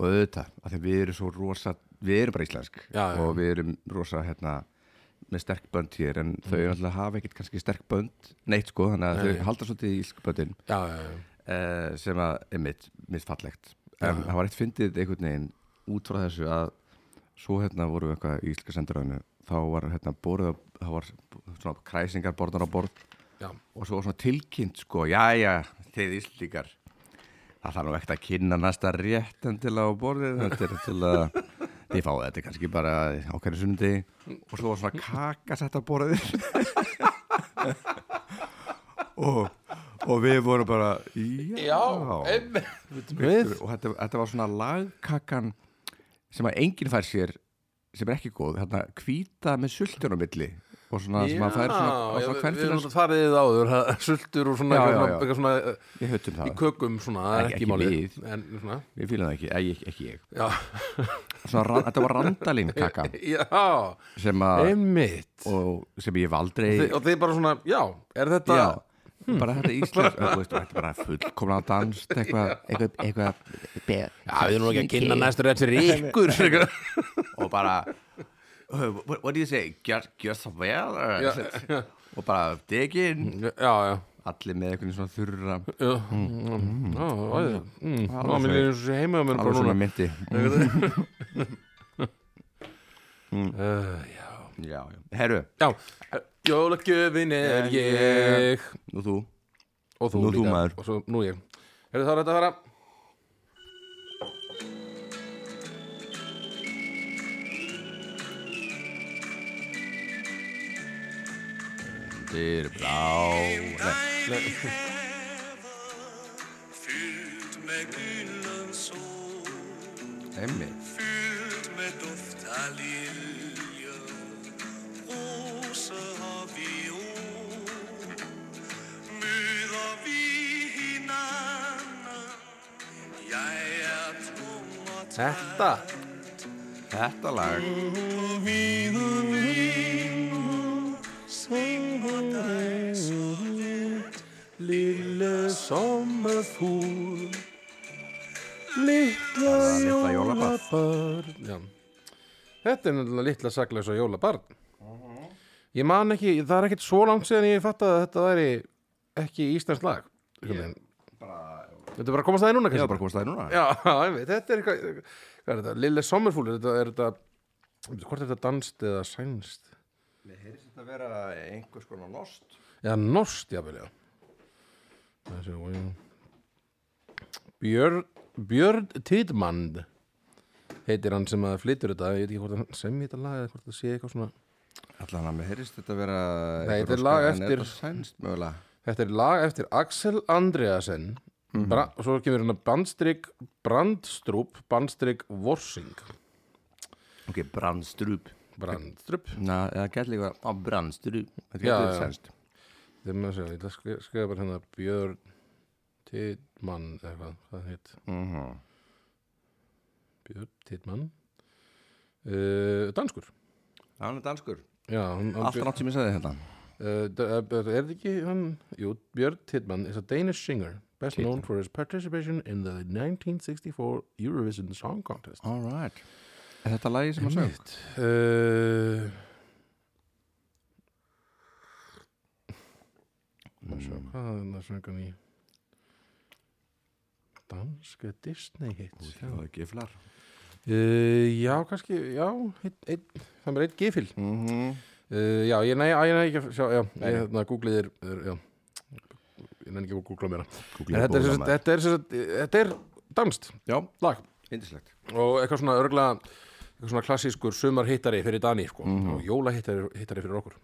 og auðvitað, af því að við erum svo rosa við erum bara íslensk
Já, já.
og við erum rosa hérna með sterk bönd hér en þau
Mhm.
náttúrulega hafa ekkert kannski sterk bönd neitt sko, þannig að þau halda svolítið í íslensku böndin
Já, já, já
eh, sem að er mitt, mitt fallegt en það var eitt fyndið einhvern veginn út frá þessu að svo hérna vorum við eitthvað í íslenska sendiröðinu þá var hérna borðið á- þá var svona kræsingar borðan á borð
Já,
og svo var svona tilkynnt sko, jæja, þið Íslendingar það þarf nú ekkert að kynna næsta rétt en til á borðið þetta er til að þið fáið þetta kannski bara á hverju sundi og svo var svona kaka sett á borðið og, og við vorum bara já,
einmitt Við,
og þetta, þetta var svona lagkakan sem að enginn fær sér sem er ekki góð, þarna hvíta með sultunum milli og svona sem að fær svona, á
já,
svona
við- við erum
kvenfélags
alltaf farið þið áður ha, sultur og
Já,
svona, eitthvað
já,
svona,
já.
eitthvað svona eh,
ég höttum
í
það,
kökum svona, það er
Ekki-
ekki
ekki
málið
við.
en svona,
við fýlum það ekki, Æ, ekki, ekki ég
já,
svona, ra- þetta var randalín kaka
já
sem, að,
einmitt
og, sem ég hef aldrei
Þi- og þið bara svona, já, er þetta
já, bara þetta íslensk þú veist, þetta er bara fullkomna danst eitthvað eitthvað, eitthvað be-
já, við erum nú ekki að kynna næstur rétt fyrir ykkur eitthvað.
og bara uh, what, what do you say, gjör, gjör það vel uh,
Já,
sem- og bara degin
já, já
allir með einhvern svona þurra
já, Mm, já, já, já Mm, já,
alveg
mér
svona-
er eins og heima á mér
alveg
bara
svona
núna
myndi
Eh, já,
já, já. herru,
já, Eh, jólagjöfin er ég
nú þú
og þú
Nú þú,
líka.
maður.
og svo nú ég Hefur þá er þetta að fara
þið eru blá nei,
Fyllt með gulan sól,
emmi
fyllt með doft að lilja, rosa af viól, muða við hinn annan, ég er tóma
Þetta
þetta lag
og víða vinur, syng og dæs og létt, lille sól.
sommerfúl Litla
var litla jólabarn.
jólabarn Já. Þetta er náttúrulega litla saklausa jólabarn Ég man ekki, það er ekkit svo langt síðan ég fatt að þetta væri ekki íslensk lag yeah. Þetta er bara að komast það í núna
Ég
kannski
er bara komast það núna
Já, einmitt, þetta er eitthvað Hvað er þetta? Lille Sommerfúl, þetta er þetta veitu, Hvort er þetta danst eða sænst?
Mér heyrðist þetta að vera einhvers konar lost
Eða norskt, jafnvel, já Það sé, oj. Björn Björn Tidmand heitir hann sem að flytur þetta ég veit ekki hvort hann semji þetta lag eða hvort það sé eitthvað svona
Allan að mér heyrðist þetta að vera
Nei,
einhver
þetta er
óskar-
lag
en
eftir-
þetta Sænst mögulega
Þetta er lag eftir Axel Andreasen mm og svo kemur hann að bandstrygg Brandstrup, bandstrygg Vorsing
Ok, brandstrup
Brandstrup
Na, það gæti líka á brandstrup Þetta
Já,
gæti verið
já.
sænst
Þegar maður segja, ég ætla að skri- skrifa bara hérna Björn Tidmann eða hvað, hvað heit
Mhm.
Björn Tidmann uh, Danskur
Já, Hann er danskur
Já, hann, hann
Alltaf nátt sem ég sagði hérna. þetta
uh, d- uh, Er þetta ekki hann? Jú, Björn Tidmann is a Danish singer best known for his participation in the 1964 Eurovision Song Contest
All right Er þetta lagi sem að sög?
uh, Sjá, hvað er það söngan í Danska Disney hits Já,
giflar
Uh, já, kannski, já, ein, ein, það er bara einn gifil.
Mhm.
Uh, já, ég næ, ég næ ekki að sjá, já, ég hérna, googlið er, er, já, ég næ ekki að googla mér það. En þetta er, sem sagt- þetta er, sem sagt, þetta er danst
Já,
lag
indislegt
og eitthvað svona örgla, eitthvað svona klassískur sumarhittari fyrir Dani, sko, og jólahittari hittari fyrir okkur.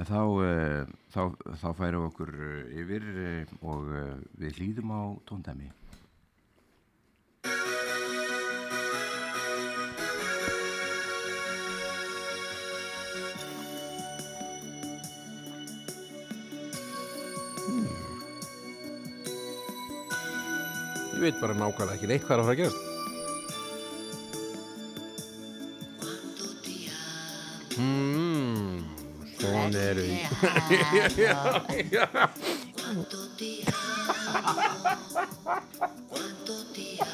En þá, eh, þá, þá færum við okkur eh, yfir eh, og eh, við hlýðum á tóndæmi.
Ég veit bara nákvæmlega ekki neitt hvað er að fara að gerast.
Quanto ti amo,
Mm, svona eru í.
quanto ti amo, quanto ti amo.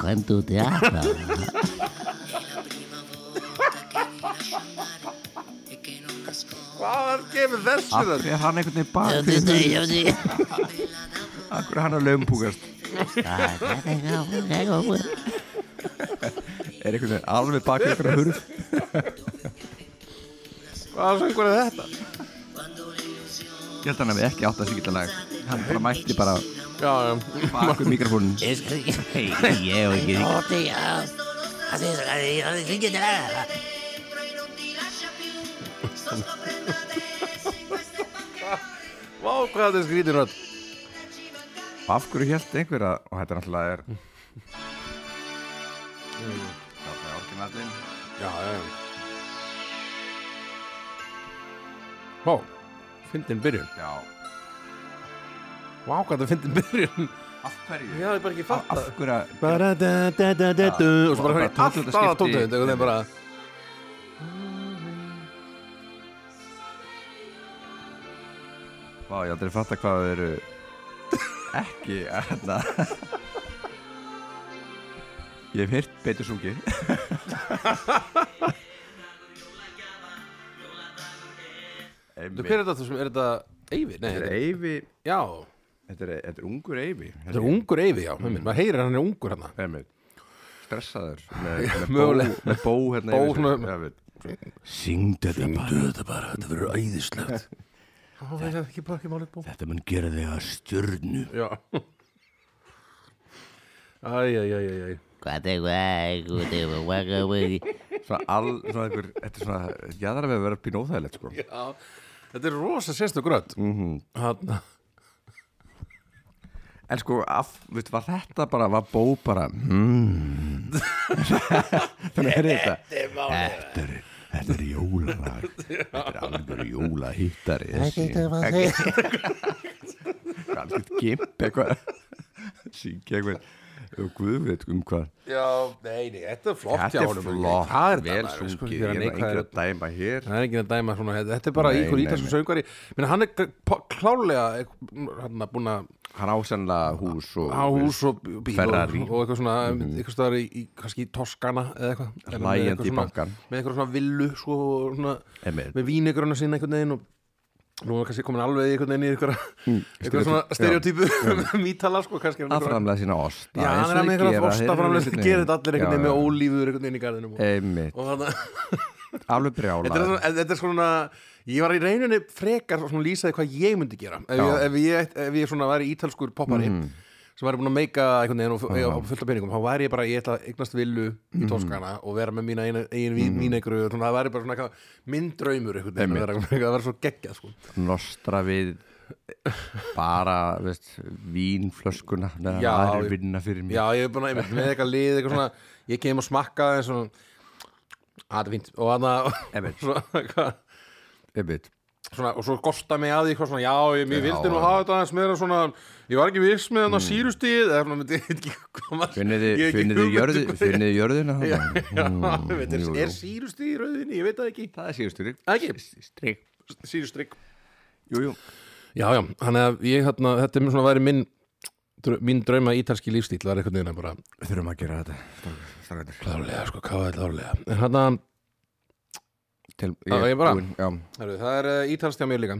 Quanto te ama.
È la prima volta che mi lascio andare e che non nascondo
Hvað kemur þessu það?
Akkur er hann einhvern veginn
Yo
bak
te
fyrir
estoy, yo sí.
bella d'amore.
Akkur er hann að lömpúkast
Ah, ya tengo, ya tengo.
Er einhvern veginn alveg bak fyrir einhverja hurf
Hvað söngur er þetta?
Quando le illusioni
Ég held að hann hefði ekki átt að syngja lag Hann bara mætti bara
Já, já,
bak við mikrofónin
Es que yo no te amo. Así es, así es, así que te la-
dentro e non ti lascia più. Sto scoprendo adesso in queste panchine
vá hvað þetta er skrítið rödd.
ci manca
Af hverju held einhver að, og þetta náttúrulega er
Mm.
Þarna er orginallinn
Já, já, já. Vá, fyndin byrjun.
Já,
Vá, hvað þetta er fyndin byrjun.
af hverju?
Já, ég bara ekki
Af- Af hverju að
Bara da da da da du. Og svo bara
Bara
hörði allt
tónlistaskipti.
aðra tóntegund. Það er bara...
Vá, ég aldrei fatta hvað þau eru ekki hérna Ég hef heyrt betur sungi
Þú, Hver er þetta sem, er þetta Eyvi?
Þetta
Nei,
er
þetta er...
Eyvi
Já.
Þetta er, þetta er ungur Eyvi
Þetta er ungur Eyvi, já. Mm. Maður heyrir að hann er ungur hann.
Eyvi Stressaður með, með,
mögulega.
bó, með bó hérna
Bó
yfir sér.
svona-
Ég veit. Syngdu þetta bara
Þetta bara, þetta verður æðislegt. Ó, þetta er ekki bara ekki málið bó.
Þetta mun gera þig að stjörnu
Já. Æj, æj, æj, æj, æj.
Cuate, guay, cute, guaca, güey.
Svona all, svona einhver, þetta er svona Jæðar að við vera pín óþægilegt sko
Já, þetta er rosa sérstu grödd
Mhm.
Þarna
En sko, af, veist, var þetta bara, var bó bara hmm. Þannig er þetta Þetta er, þetta er jólalag Þetta er alveg jólahittari Þessi Alveg gimp eitthvað Syngja eitthvað Og guð veit um hvað
Já, nei, nei, þetta er flott
Þetta er flott,
Það er
vel
þetta, sko,
sungið
ekki
Ég
að
er engin
neikvæður
að dæma hér
Það er engin að dæma svona, þetta- þetta er bara
Nei,
einhver
nei,
ítalsku
nei.
söngari Menni, hann er k- po- klálega hann að búin að
hann á sennilega hús og
á hús og bíl og,
Ferrari. Mhm.
og eitthvað svona, eitthvað staðar í, í kannski í Toskana eða eitthvað En með
Hlæjandi
eitthvað
í
svona-
bankann.
með eitthvað svona villu svo, og svona,
Einmitt.
með vínegröna sína einhvern veginn og nú er kannski komin alveg í einhvern veginn í eitthvað, eitthvað svona
Hmm, stereotyp.
stereotypu mítala sko kannski er hann
að
einhverja-
framlega sína ost
Já, hann er með einhverja fórstaframlega gerir þetta allir einhvern veginn með ólífur einhvern veginn í garðinum og-
einmitt,
og þannig
alveg
Þetta er,
brjála
svona, en þetta er svona, ég var í reyninni frekar svona lýsaði hvað ég myndi gera ef ég,
Já. Mm.
ef ég, ef ég svona væri ítalskur poppari sem væri búin að meika einhvern veginn og fu- og fullt af peningum, þá væri ég bara, ég ætla að eignast villu
Mm.
í Toskana og vera með mína eigin, eigin mm. vínegru, svona, það væri bara svona eitthvað, minn draumur einhvern veginn, að vera- það væri svo geggjað sko.
nostra við bara, veist, vínflöskuna neðan
Já,
aðrir
ég-
vinna fyrir mér
Já, ég er búin að, einmitt, með eitthvað lið eitthvað svona, ég kem og smakka það svona, að það er fínt og þannig,
Einmitt.
svona, eitthvað
einmitt
svona, og svo gosta mig að því eitthvað svona, já, ég, ég vildi nú hafa þetta aðeins meira svona, ég var ekki viss með þannig mm. sírustíð, eða svona, myndi, ég veit ekki koma
finnið þið- finnið þið
um
jörði, finnið þið jörðina þarna?
mm, veit, er,
jú,
er
jú.
sírustíð í rauðinni, ég veit það ekki
það er síðustu rík
Ekki.
strík
sírustrygg
jú, jú.
já, já, hann að ég, hérna, þetta er svona væri minn dr- mín drauma ítalski lífstíl var einhvern veginn að bara
þurfum að gera þetta strákandir
klárlega, sko, hvað er klárlega en hérna- hann að,
til,
Já, ég bara-
búinn, já. Mhm.
herru, það er uh, ítalst hjá mér líka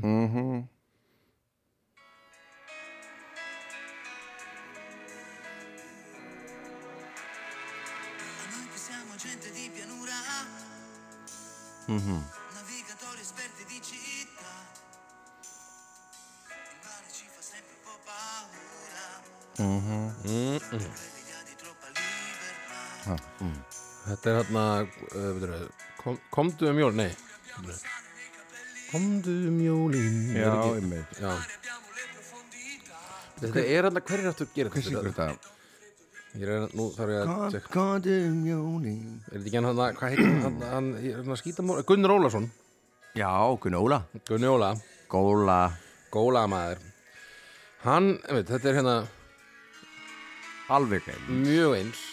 Ma noi che siamo gente di pianura Navigatori esperti di città Il mare ci fa sempre un po' paura L'idea di troppa libertà
Þetta er hérna uh, veitir, kom, Komdu um jól, nei Komdu um jólin
já,
er ekki-
einmitt
já. Þetta er hérna, hver er aftur að gera
hvað syngur þetta?
Ég er hérna, nú þarf ég að tjekka
Godum jólin
Er þetta ekki hann hérna, hvað heitir hann, hann, hann, ég er hérna skítamór Gunnur Ólason
já, Gunóla
Gunnur Óla,
Góla
gólamaður Hann, einmitt, þetta er hérna
alveg einn
mjög eins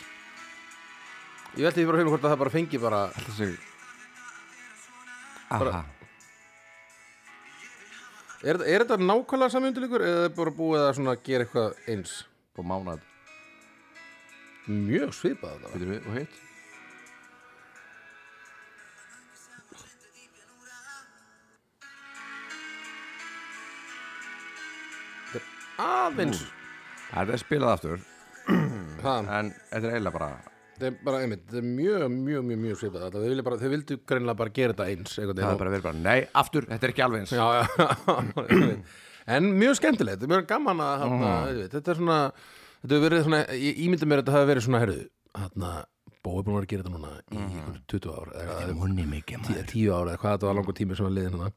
Ég veldi því bara að hérna hvort að það bara fengi bara
þessi aha
Er, er þetta nákvæmlega samjöndilíkur eða er bara búið að svona gera eitthvað eins?
på mánad
Mjög svipað þetta
Getur við og hitt?
aðeins
Það er spilað aftur
það,
en þetta er eiginlega bara
þetta er bara einmitt, þetta er mjög, mjög, mjög, mjög svipað þetta, þau, vilja bara, þau vildu greinlega bara gera þetta eins einhvern
það er
veginn
bara verið bara nei, aftur, þetta er ekki alveg eins
Já, já, einmitt. en mjög skemmtilegt, þetta er mjög gaman að hana, þetta er svona, þetta hefur verið svona ég ímyndi mér að þetta hafi verið svona herðu, hérna, Bói búin að vera að gera þetta núna í mm. 20 ár, eða eitthvað,
honni mikið
tí- 10 ár eða hvað þetta var langur tími sem var liðin hana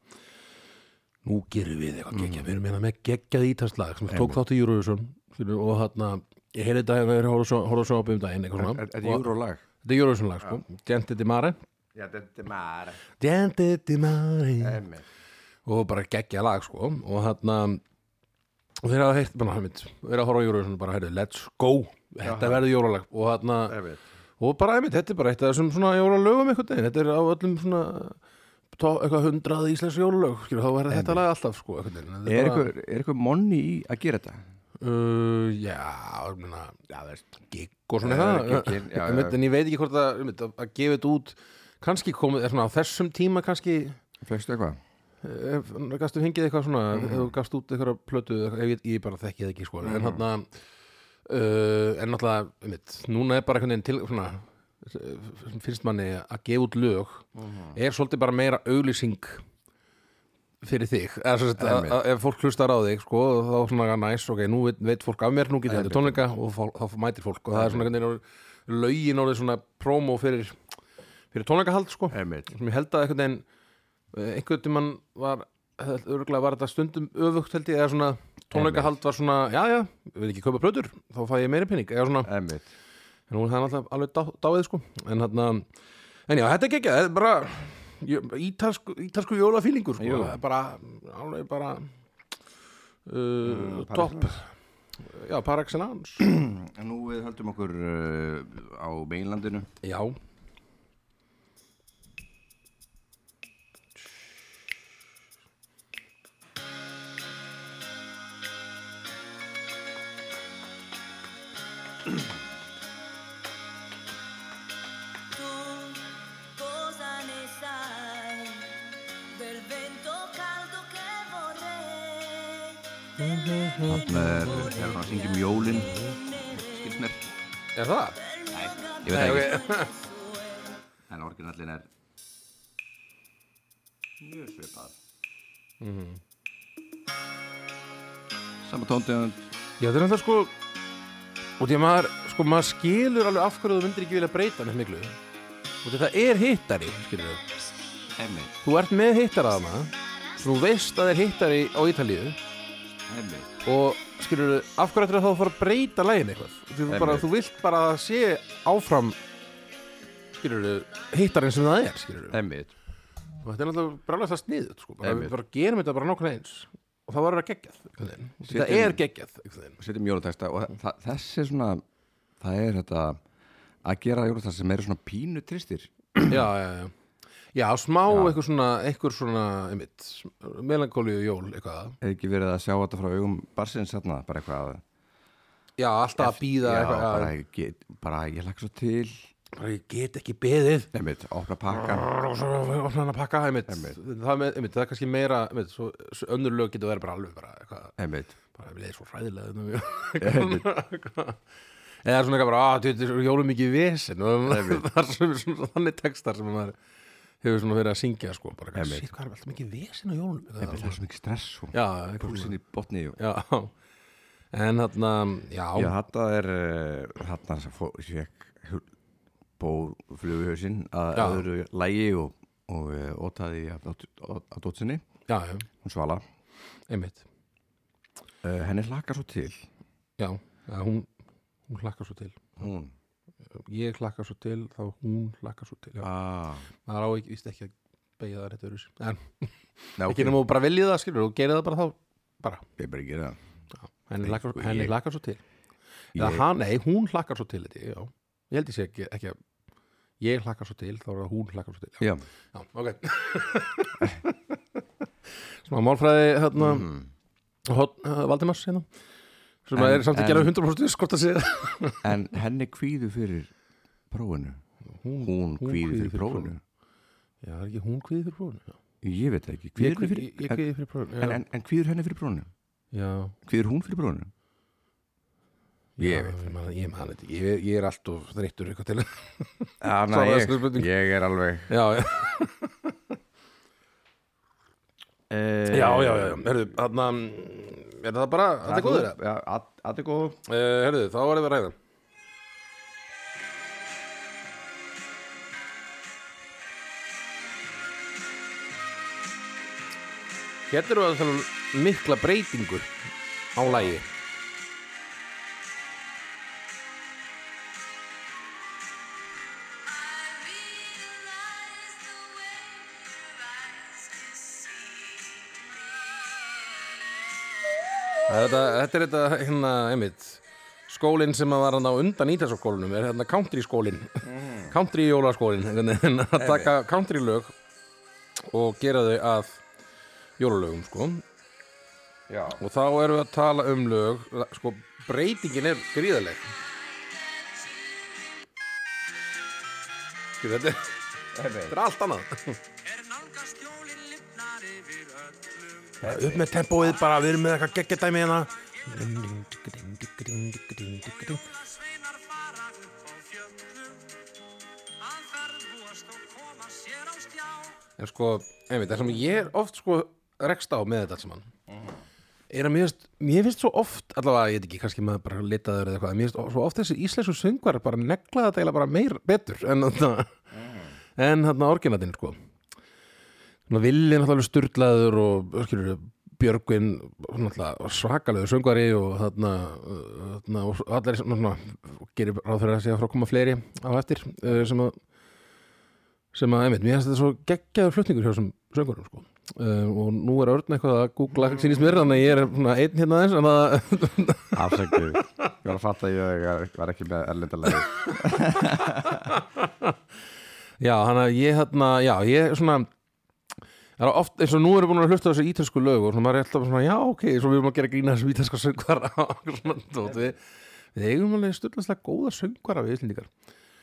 nú gerum við eitthvað
Mm.
geggjað, við erum hérna með geggjað ítalslag sem tók þátt í Eurovision skilur, og hérna, ég heyrði þetta hérna, ég horfði svo upp um daginn eitthvað svona
Þetta er
Og-
júrólag
Þetta er Eurovision lag sko Gente di mare
Já, þetta er mara
Gente di mare
Einmitt.
Og bara geggja lag sko Og þarna Og þeir hafa heyrt bara hafmynd Þeir hafa horfa á Eurovision og bara heyrðu Let's go Þetta verður jólalag Og þarna
Einmitt.
Og bara einmitt Þetta er bara eitt af þessum svona jólalögum einhvern veginn Þetta er á öllum svona tó, Eitthvað hundrað íslensk jólalög skilur, Þá verður þetta lag alltaf sko einhvern veginn Þetta
Er
bara-
eitthvað- er eitthvað monni í að gera þetta?
Uh, já, ég meina, já, það er gigg og svona
Já,
það,
gigginn, já,
Einmitt,
já.
en ég veit ekki hvort að, einmitt, að, að gefa þetta út kannski komið, er svona á þessum tíma kannski,
Flestu eitthvað?
ef, gastu hengið eitthvað svona, ef þú gast út eitthvað plötu, eða eitthvað, ef ég, ég bara þekki það ekki sko, en hann að uh, en náttúrulega, einmitt, núna er bara einhvern veginn til, svona eh, finnst manni að gefa út lög er svolítið bara meira auglýsing fyrir þig eða svo að, að, að, ef fólk hlustar á þig sko, þá svona næs, ok, nú veit, veit fólk af mér nú getur þetta tónleika og fól, þá mætir fólk og það er svona einhvern veginn orðið- lögin orðið svona promo fyrir, fyrir tónleikahald sko.
Einmitt.
sem ég held að einhvern veginn eh, einhvern tímann var örgulega var þetta stundum öfugt held ég eða svona tónleikahald var svona já já, ég vil ekki kaupa plötur, þá fæ ég meiri pening eða svona,
Einmitt
en hún er alltaf alveg dá, dáið sko, en hann en já, þetta er geggjað, þetta er bara jö- ítalsku, ítalsku jólafílingur sko,
Jú.
það er bara, alveg bara uh, topp já, Paraxinans
En nú við höldum okkur uh, á meginlandinu
já,
Tu cosa ne sai del vento caldo che vorrei?
Þarna er, er hann að syngja um jólin Skilst mér
Er það?
Ég veit það ekki En orginallin er Mjög svipað Mhm. Sama tóndegund
Já, þetta er alltaf sko og því að maður, sko, maður skilur alveg af hverju þú myndir ekki vilja breyta neitt miklu og því að það er hittari, skilur þú
Heimið,
þú ert með hittara þarna sem þú veist að er hittari á Ítalíu
heimið
og skilur þú, af hverju ættir þá að fara að breyta lægin eitthvað því þú, bara,
Einmitt.
þú vilt bara að sé áfram skilur þú, hittarinn sem það er skilur þú,
Heimið
og þetta er alltaf brálega það sniðut sko, bara,
Einmitt.
við bara gerum þetta bara nokkuð eins og það var að geggjað, einhvern veginn. Og þetta
Setjum-
er geggjað einhvern veginn.
Setjum jólatexta og þa- þa- þessi er svona Það er þetta að gera jólatexta sem eru svona pínu tristir
já, já, já Já, smá
Já.
eitthvað svona, eitthvað svona, einmitt, melankóliu jól, eitthvað.
Hefði ekki verið að sjá þetta frá augum barsins hérna, bara eitthvað
Já, alltaf að býða
Já,
eitthvað,
bara,
já,
ég get, bara ég lagði svo til
bara ég get ekki beðið.
Heimið, opna pakkan
Og svo opna hann að pakka, einmitt.
Einmitt.
Það, er með, einmitt, það er kannski meira, einmitt, svo, svo önnur lög getur verið bara alveg bara eitthvað,
Heimið,
bara við erum svo hræðilega þetta mjög. Eitthvað. Eða svona eitthvað bara, að þetta er jólum mikið vesen og það er svona, svona þannig textar sem maður hefur svona verið að syngja, sko, bara,
Einmitt.
shit, hvað er alltaf mikið vesen á jólum?
það er svo mikið stress og
Já, eitthvað svona.
púlsinn í botni og
Já, en þarna, já,
Já, þetta er eh, þarna sem fó, fekk bófluguhausinn að
Já.
öðru lægi og, og eh, ótaði að dótt- að dótsinni,
já, já,
hún Svala uh,
einmitt,
henni hlakar svo til
já, já hún, hún hlakkar svo til,
hún,
ég hlakkar svo til, þá hún hlakkar svo til, já,
ah,
maður á ekki, víst ekki að beigja það rétt öðru sér, en
Nei,
ekki nema þú bara viljið það, skilur, og gerir það bara þá, bara,
ég bara ekki það
henni
Nei,
hlakkar,
sko,
henni
ég-
hlakkar svo til, eða
ég,
hann, nei, hún hlakkar svo til þetta, já, ég held ég sé ekki, ekki að, ég hlakkar svo til, þá er það hún hlakkar svo til, já,
Já,
já ok, smá málfræði, hérna,
mm,
Hot, uh, Valdimars hérna sem
En-
er samt
en-
ekki alveg 100% viss hvort að segja
en henni kvíðu fyrir prófinu
hún,
hún kvíðu fyrir prófinu
já, er ekki hún kvíði fyrir prófinu já.
ég veit það ekki,
ég,
kvíður henni
kvíði, ég
fyrir
kvíði fyrir prófinu já,
en, en, en kvíður henni fyrir prófinu
já,
kvíður hún fyrir prófinu Ég
já,
veit
ég, man, ég man þetta ekki. ég, ég er alltof þreyttur eitthvað til já,
Ah,
Svaraðu
ég,
þessari spurningu.
ég er alveg
já,
eh,
já, já, já. Herðu, þarna mm, er það bara, þetta er góður
Já, allir góður
Eh, herðu, þá varum við að ræða Hérna eru að tala um mikla breytingu á lægi Þetta, þetta er þetta, hérna, einmitt skólinn sem að var hann á undan í þessu skólinum er hérna country skólinn country jólaskólinn einhvern veginn, að taka country lög og gera þau að jólalögum sko
Já,
og þá erum við að tala um lög sko breytingin er gríðaleg Skil, þetta er, þetta er allt annað Ja, upp með tempóið bara, við erum með eitthvað geggjadæmi hérna En sko, einmitt, það sem ég er oft sko rekst á með þetta allt saman er að mér finnst, mér finnst svo oft allavega, ég veit ekki, kannski maður bara litaður eða eitthvað, en mér finnst svo oft þessi íslensku söngvar bara negla þetta eiginlega bara meir betur en þarna en þarna orginatinn sko svona Villi náttúrulega styrlaður og skilur, Björgvin náttúrulega svakalegur söngvari og þarna, uh, þarna og allir svona, svona, og gerir ráð fyrir að sé að fara að koma fleiri á eftir uh, sem að sem að, einmitt, mér finnst þetta svo geggjaður flutningur hjá þessum söngurum sko. uh, og nú er Örn eitthvað að googla sínist mér, þannig að ég er svona einn hérna aðeins en að,
afsæktu Ég var að fatta að ég var ekki með erlendalegi
já, hann að ég hérna, já, ég svona Það er oft, eins og nú erum við búin að hlusta á þessu ítölsku lög og svona maður er alltaf svona, já, ok, svo við erum að gera grína þessu ítalska söngvar á svona tóti. Við við eigum alveg stöldaslega góða söngvara við Íslendingar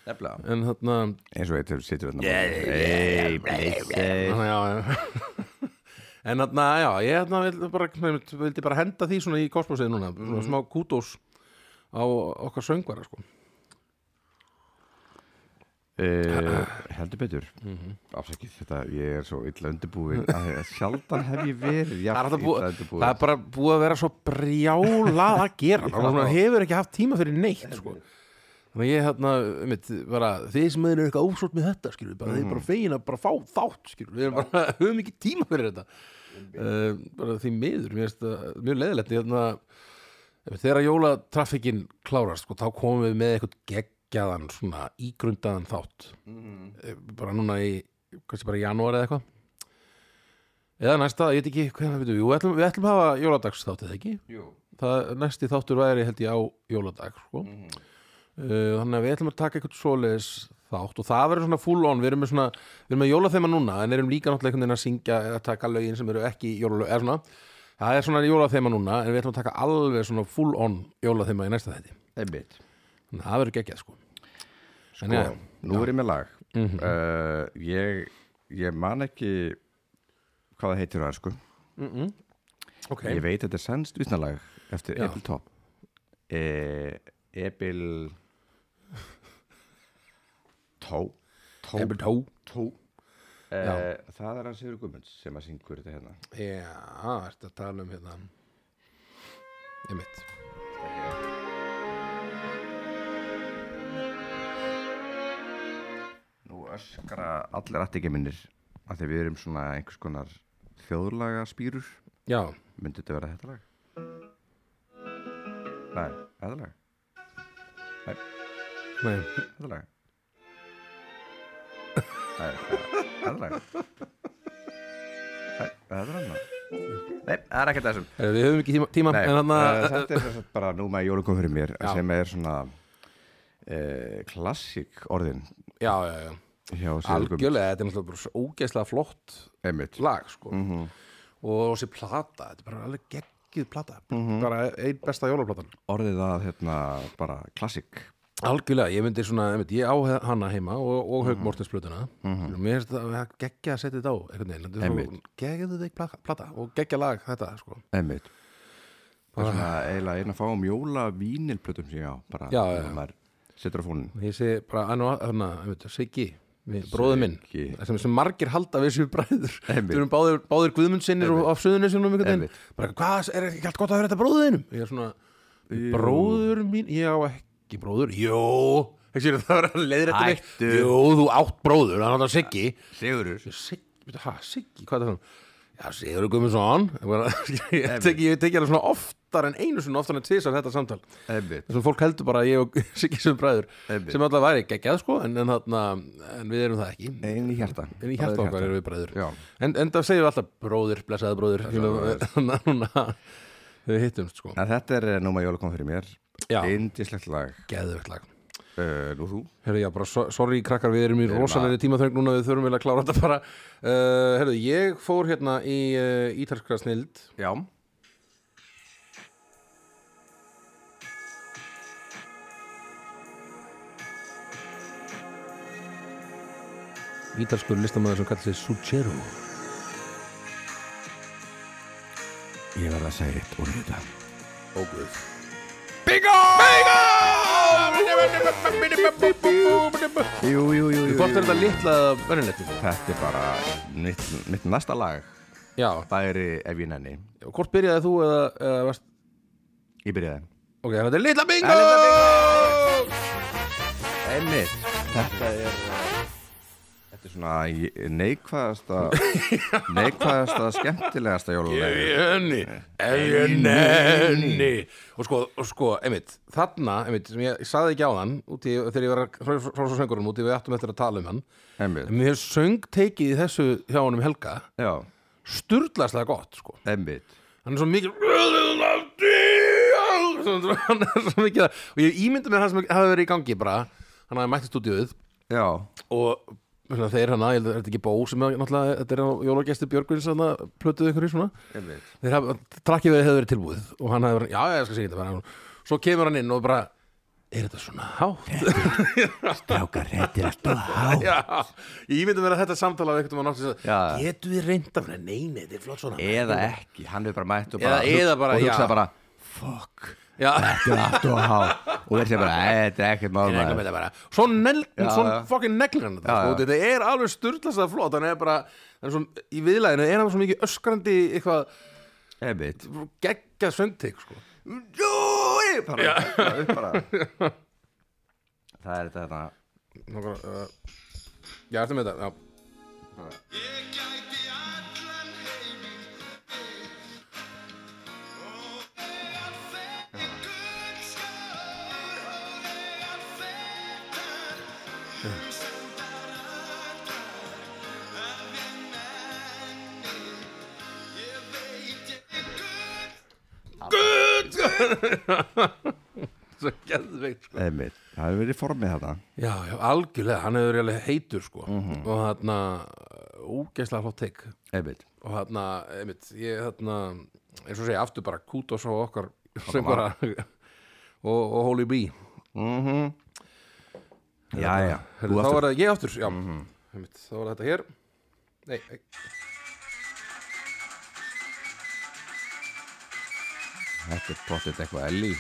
Nefnilega
en hérna, þarna
Eins og eitthvað sittur við þarna
Þannig, já, já. en þarna, já, ég þarna vildi bara, einmitt, vildi bara henda því svona í kosmosið núna, svona smá kútós á okkar söngvara, sko
Eh, Heldur betur
Mhm.
Afsakið þetta, ég er svo illa undirbúin að Sjaldan hef ég verið
það er,
jafn illa
alltaf búið,
undirbúin
það er bara búið að vera svo brjálað að gera það svona, hefur ekki haft tíma fyrir neitt sko. þannig að ég hérna mitt, bara, þið sem eru eitthvað ósótt með þetta skilur, bara, þið er bara fegin að bara fá þátt skilur, við erum bara, höfum ekki tíma fyrir þetta uh, bara því miður mér finnst það mjög leðilegt hérna, einmitt, þegar jólatraffikin klárast sko, þá komum við með eitthvað geggjaðan svona ígrundaðan þátt Eh, bara núna í kannski bara í janúar eða eitthvað Eða næsta, ég veit ekki hvernig við, jú, við, ætlum, við ætlum að hafa jóladags þáttið ekki
Jú.
það, Næsti þáttur væri held ég á jóladag sko.
Mhm.
uh, Þannig að við ætlum að taka eitthvað svoleiðis þátt og það verður svona full on Við erum með, svona, við erum með jólaþema núna en erum líka náttúrulega einhvern veginn að syngja eða taka lögin sem eru ekki jólalög er svona, Það er svona jólaþema núna en við ætlum að taka alveg svona full on jólaþema í næsta þætti
Einmitt
Þannig að það verður geggjað sko.
Sko,
En já, Mhm.
nú er ég með lag uh, ég, ég man ekki hvað það heitir á sko.
okay.
Ég veit þetta er sænst vitnalag eftir
Já.
Ebil Top e, Ebil Tó Tó
Ebil Tó.
Tó Uh, það er hann Sigur Guðmunds sem að syngur þetta hérna
Já, ertu að tala um hérna Einmitt
Nú öskra allir attingeminnir að því við erum svona einhvers konar þjóðlaga spýrur
Já,
myndi þetta vera þetta lag? Nei, þetta lag
nei,
Þetta lag Nei, Þetta lag Nei, Þetta er annað Nei, það er ekkert þessum
Herra, eh, við höfum ekki tíma, tíma
Nei,
en hann
eh, þetta er sem sagt bara nú með jólukum fyrir mér
Já.
sem er svona uh, klassik orðin
eh, Já, já, já,
hjá Sigurðum
algjörlega þetta er náttúrulega bara svo ógeðslega flott
Einmitt
lag, sko
Mhm.
og þessi plata, þetta er bara alveg geggið plata
Mhm.
bara einn besta jólaplatan
Orðið að hérna bara klassik
Algjörlega, ég myndi svona, einmitt, ég á hana heima og,
Mhm.
og Haug Mortens plötuna og mér finnst það að geggja að setja þetta á einhvern veginn, þetta er svo
Einmitt.
geggja þetta plaka- plata og geggja lag þetta, sko
Einmitt Það er svona eiginlega einn að fá um jóla vínilplötum sem ég á bara
Já, já,
þegar
já.
maður setur á fónin
Ég sé bara hann og hann, einmitt, Siggi, bróður minn,
Siggi.
sem, sem margir halda við sér bræður.
Einmitt.
Þú erum báðir, báðir guðmundsinnir og af suðunisjónum einhvern veginn.
Einmitt.
Bara, hvað, er ekki allt gott að vera þetta bróðinum? Ég er svona, bróður mín, ég á ekki bróður. Jó, ekki sér það vera leiðrætt mig.
Hættu.
Jó, þú átt bróður, hann átt að Siggi.
Sigurður
Siggi, veitu, hæ, Siggi, hvað er það þannig? Já, Sigurður Guðmundsson. Ég bara- Ég teki, ég teki alveg svona oftar en einu sinni, oftar en tvisar þetta samtal
Einmitt
þessum fólk heldur bara að ég og Siggi sem bræður
Einmitt.
sem alltaf væri geggjað sko en, en, þarna, en við erum það ekki
Einn í hjarta
en í hjarta okkar erum við bræður
Já.
en, en það segjum við alltaf bróðir, blessaði bróðir þannig að núna við hittumst sko
En þetta er núma jóla kom fyrir mér
Já.
Indislegt lag
geðvegt lag
uh, Nú þú
Herru, já, bara so- sorry krakkar, við erum í
erum
rosalegri tímaþöng núna, við þurfum vel að klára þetta bara uh, Herru, ég fór hérna í uh, ítalska snild
Já
ítalskur listamæður sem kallar sig Sucero
Ég verð að segja eitt og þetta
Óguð
Jú, jú, jú, jú,
Hvort er
jú.
þetta litla eða verðinletti?
Þetta er bara mitt, mitt næsta lag
Já,
Það er ef ég nenni
Og Hvort byrjaði þú eða, eða varst...
Ég byrjaði
Ok, þetta er Litla Bingo!
Það er Litla Einmitt Þetta er eh, Þetta er svona neikvæðasta Neikvæðasta skemmtilegasta jólulega
Jenny, Jenny Og sko, og sko, einmitt, þarna, einmitt, sem ég, ég saði ekki á þann úti, þegar ég var að frá frá- frá söngurinn úti, við ættum eftir að tala um hann En
Einmitt
mér hefur söngtekið í þessu hjá honum Helga
Já,
Sturlaslega gott, sko
einmitt
Hann er svo mikið Hann er svo mikið að- Og ég ímyndi mér hann sem hafi verið í gangi bara Hann hafi mætti stúdíuð
Já,
og svona, þeir hana, ég held að þetta er ekki bó sem að, náttúrulega, þetta er á jólagestur Björgvins hana, plötuðu ykkur í svona
einmitt
þeir hafa, trakkið við hefur verið tilbúið og hann hefur, já, já, ég skal segja þetta bara svo kemur hann inn og bara er þetta svona hátt?
Strákar, þetta er alltaf hátt
Já, ég myndi vera þetta samtala við einhvern veginn átt þess
Já.
að getur þið reynda fyrir neini, þetta er flott svona
Eða ekki, hann er bara mætt og
Eða-
bara,
eða bara,
og
já.
hugsa bara Fuck,
Já,
þetta er alltaf hátt Og þeir segja bara, "Æ, þetta er ekkert mál
Ég regla með
maður."
þetta bara Svo neglum,
Já,
svo
já.
fucking neglir hann þetta
Já,
sko.
já.
Þetta er alveg styrlast að flott Þannig er bara, þannig svo, í viðlæðinu er hann svo mikið öskrandi eitthvað
Einmitt.
geggjað söndtík sko.
Jói bara, bara, upp bara. Það er þetta þarna
Nú bara, uh, Já, ertu með þetta, já Svo geðveikt sko.
Einmitt. Það hefur verið formið þarna
Já, já, algjörlega, hann hefur alveg heitur sko.
Mhm.
og þarna uh, ógeðslega flott teik
Einmitt.
og þarna, einmitt, ég þarna eins og segja, aftur bara kútos á okkar sem bara og, og Holy Bee
Já, já,
Herðu,
þú aftur
Þá
Mhm.
var það ég aftur, já einmitt, Þá var þetta hér Nei, nei.
Þetta er pottet eitthvað Elí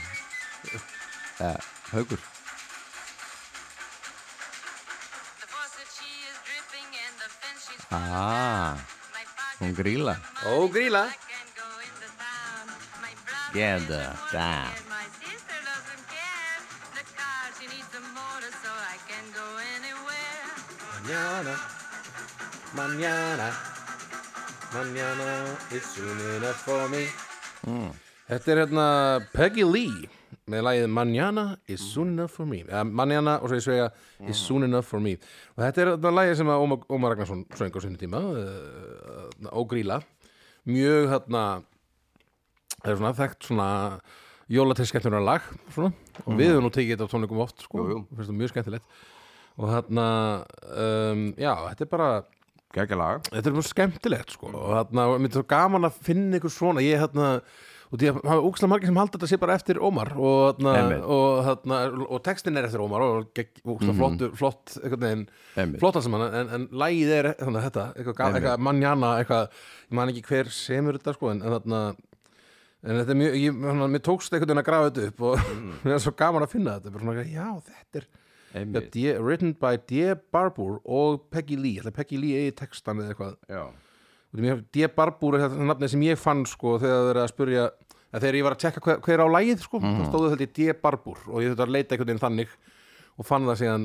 Eða, haukur Ah, hún gríla
Ó, gríla
Get the down
Manjana Manjana Manjana It's soon enough for me Mm. Þetta er hérna Peggy Lee með lagið Manjana is soon enough for me eða Manjana og svo ég segja is soon enough for me og þetta er þetta lagið sem að Ómar, Ómar Ragnarsson söng á sinni tíma uh, og gríla mjög hérna það er svona þekkt svona jólatesskettunar lag svona. og við höfum nú tekið þetta á tónleikum oft sko,
Jú, jú.
finnst það mjög skemmtilegt og þarna um, já, þetta er bara
Gækja lag
þetta er bara skemmtilegt sko og þarna, mér er svo gaman að finna ykkur svona ég þarna, og því að hafa úkslega margir sem halda þetta sé bara eftir Ómar og þarna,
Einmitt.
og, þarna, og textin er eftir Ómar og gegg- úkslega flottu, flott einhvern
Mhm. Einmitt.
veginn, flott alls saman en, en lægið er þarna, þetta, eitthvað, ga-
Einmitt.
eitthvað mannjana, eitthvað, ég man ekki hver semur þetta sko, en, en þarna en þetta er mjög, ég, hana, mér tókst einhvern veginn að grafa þetta upp og mér er svo gaman að finna þetta bara svona, já, þetta er Já,
Mm. Einmitt
D, written by D. Barbour og Peggy Lee, ætla Peggy Lee eigi textan eða eitthvað
Já,
Út í mér- D. Barbour er þetta nafnið sem ég fann sko þegar það er að spurja að þegar ég var að tjekka hver, hver á lægið sko
Mhm.
þá stóðu þetta í D. Barbour og ég þurfti að leita einhvern veginn þannig og fann það síðan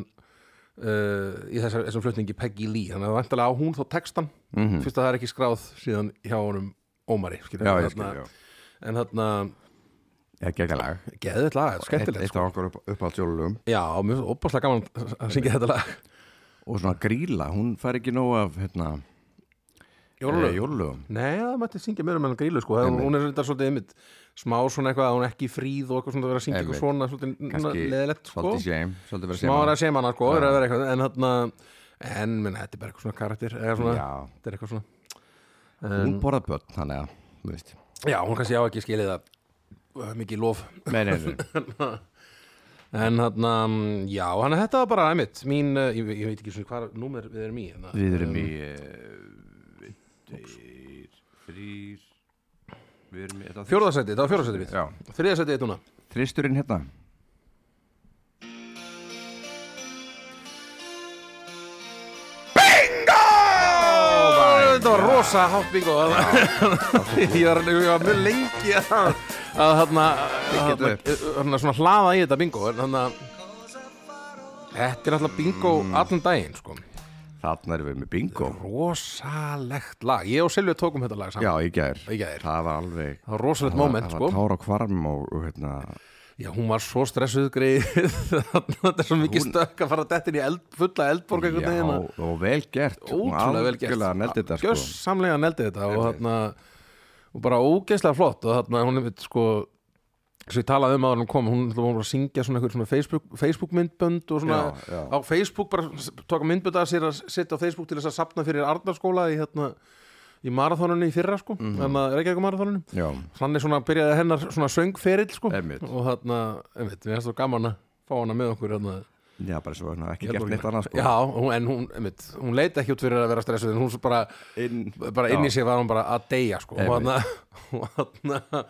uh, í þessar, þessum flutningi Peggy Lee þannig að vantilega á hún þá textan fyrst að það er ekki skráð síðan hjá honum Ómari
Mhm.
skilur,
já,
við,
ég
þarna-
skil, já
en þarna
Já, gækja lag
geðið lag, þetta er
Eitt
skemmtilegt
eitt
sko.
af okkur upp, uppáhalds jólulugum
já, mjög opaslega gaman að syngja þetta lag
Og svona gríla, hún fær ekki nóg af hérna
Jólalög.
eh, jólalögum
Nei, það mætti syngja meira með hann grílu sko. Einmitt. hún er þetta svolítið einmitt smá svona eitthvað að hún er ekki í fríð og eitthvað svona að vera að syngja eitthvað
Einmitt.
svona svolítið
Kannski
leðilegt sko.
Svolítið shame, svolítið verið
smá
shame
er að sema hann sko, er að vera eitthvað en þarna, en menn, þetta er bara eitthvað svona karakter eða svona,
Já.
þetta er eitthvað svona
Hún borðað börn, þannig að, þú veist
Já, hún kannski á ekki skilið að uh, mikið lof
Nei, nei, nei
en þarna, mm, já, hann þetta var bara einmitt, mín, uh, ég, ég veit ekki svona hvað númer við erum í hérna.
Við erum í Ehm, Tveir, þrýr Við erum í þetta var
fjórðasæti, þetta var fjórðasæti mitt
Já.
þriðasæti eitt núna
Þristurinn hérna
Þetta var rosa hátt bingo Ég var, ég var mjög lengi að að þarna að
Byggja þetta
þarna svona hlaða í þetta bingo en þarna Þetta er alltaf bingo
Mm.
allan daginn sko
Þarna erum við með bingo
Rosalegt lag Ég og Silvi tókum þetta lag
Já, í
saman
gær
Í gær.
Það var alveg
Það var rosalegt moment
Það
sko
var tár á kvarm og, og hérna
Já, hún var svo stressuð greið Þetta er svo mikið stökk að fara dettin í eld, fulla eldborg einhvern
Já,
veginn að-
og vel gert
ótrúlega vel gert
Ótrúlega neldi þetta sko
Gjörsamlega neldi þetta og, þarna, og bara ógeðslega flott og þarna hún er sko svo ég talaði um að hún kom hún, hún var að syngja svona einhver svona Facebook, Facebook myndbönd og svona
Já, já.
á Facebook bara s- tóka myndbönd að sér að setja á Facebook til þess að sapna fyrir Arnarskóla í, hérna, í marathónunni í fyrra sko mm -hmm. en ekki ekki marathónunni
Mhm. Já,
þannig svona byrjaði hennar svona söngferill sko
Einmitt.
og þarna, einmitt, mér finnst þú gaman að fá fá hana með okkur hérna.
Já, bara svo svona, ekki gert neitt annað sko.
Já, Hérna hún, en hún, einmitt, hún leit ekki út fyrir að vera stressuð en hún svo bara,
inn,
bara inn í sér var hún bara að deyja sko. og, hana, og, hana,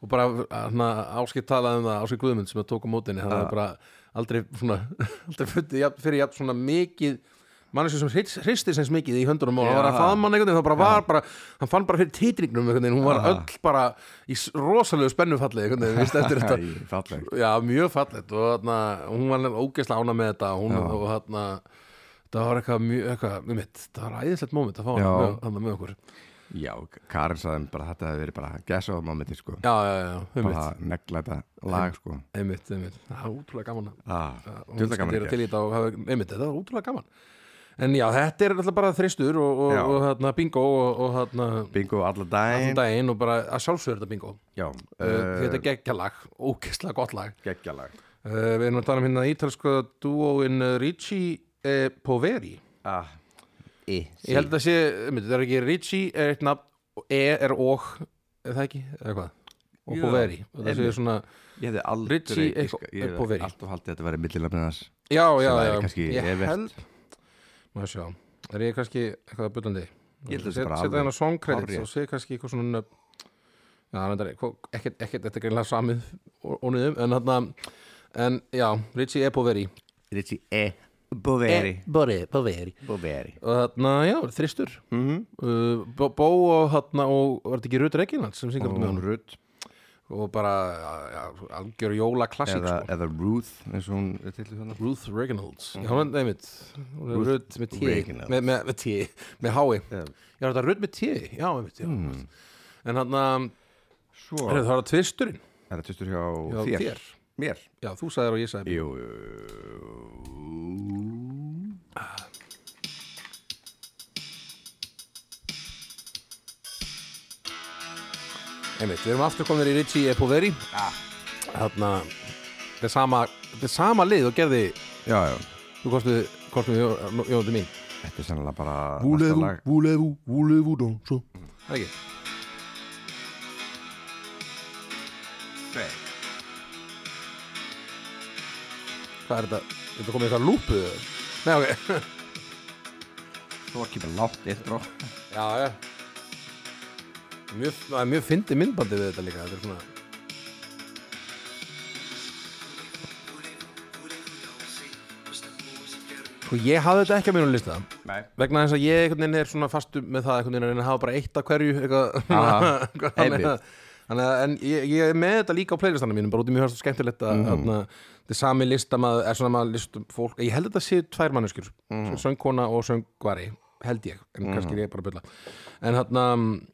og bara hana, áskipt talaði um það áskipt Guðmund sem að tók á mótinni það er bara aldrei, svona, aldrei fyrir, jafn, fyrir jafn svona mikið mannesku sem hrist- hristi sem mikið í höndunum og hann var að
Já.
faðma hann einhvern veginn, það bara var bara hann fann bara fyrir titringnum einhvern veginn, hún var
Já.
öll bara í s- rosalegu spennufalli einhvern veginn, víst, eftir þetta
Æ, fallegt.
Já, mjög fallet og þarna, hún var ógeðslega ána með þetta hún, og þarna það var eitthvað mjög, eitthvað, um mitt það var æðislegt móment að fá hana
Já.
með, hana með okkur Já,
Já, Karin sagði bara að þetta hefði verið bara gæsaða mámyndi sko.
já, já, um
bara
mitt
að negla þetta lag sko.
einmitt, einmitt, það var útrúlega gaman að-
ah,
að hún
Djöfull er gaman
skatti
að gera.
til í þetta og hafa, einmitt, þetta var útrúlega gaman en já, þetta er alltaf bara þristur og, og,
Já.
og þarna bingo og, og þarna
Bingo allan
allan
daginn
daginn og bara að sjálfsögur þetta bingo uh,
Já, Eh.
þetta er geggjalag, ógeðslega gott lag
geggjalag
uh, við erum að tala um hérna ítalska duóin uh, Ricci eh, Poveri
ah.
Ég held að sé, mynd, það er ekki Ritchie er eitt nafn, og E er og er það ekki, eða hvað og
Já,
Poveri, og það sé
einmitt.
svona
Ég hefði aldrei
Ritchie
ég
eitthvað-
ég hefði
upp á veri.
alltaf haldið að þetta væri millilega með þess
já, já,
væri
já,
kannski
ég
Evert.
held maður sjá, er ég kannski eitthvað að bullandi
Ég held að sé
Set-
bara
setja
alveg
hérna song credits
hárrétt.
og sé kannski eitthvað svona nöfn. já, reyndar, hvo- ekkert, ekkert, þetta er greinlega samið og- og niður, en þarna en já, Ritchie E Poveri
Ritchie E. Boveri
E.
Bore, poveri.
Boveri
og þarna, já, þristur mm
Mhm.
-hmm. uh, Bó og þarna og var þetta ekki Rutt Reginland sem syngur þetta með
Hún
honum
Rutt
og bara já, já, algjör jóla klassik
eða,
sko.
eða Ruth eins og hún er til þannig
Ruth Reginalds Já, hún er einmitt Hún er Mhm. Ruth með tí
Reginalds.
Með, með, með tí Með hái Já, Hmm. þetta er Ruth með tí Já, einmitt já. En hann að
Svo
Það var tvisturinn
Er það tvistur hjá,
Já,
þér?
þér.
Mér?
Já, þú sagðir og ég sagði
Jú, jú, jú.
Einmitt, við erum aftur komin í Ritchie Epoveri Já Þarna Þetta er sama Þetta er sama lið og gerði
Já, já
Þú kostuði Kostuði Jónandi mín
Þetta er sennilega bara næsta lag.
voulez-vous, voulez-vous danser Það ekki Hvað er þetta? Er þetta komið í eitthvað lúpu? Nei, ok
Þú var ekki með látt eitt drá
Já, já Mjög, það er mjög fyndi myndbandi við þetta líka Þetta er svona Sko, ég hafði þetta ekki að mínum lista
Nei
vegna þess að ég einhvern veginn er svona fastu með það einhvern veginn að reyna að hafa bara eitt af hverju eitthvað
Aha,
eitthvað þannig
einmitt.
að- þannig að en ég, ég er með þetta líka á playlistanum mínum bara út í mjög hörstu skemmtilegt
Mhm.
að mm. þetta er sami listamaður, er svona maður listum fólk ég held að þetta séu tvær manneskjur
Mhm.
mm. söngkona og söngvari, held ég en kannski er ég bara að bylla en þarna, mm,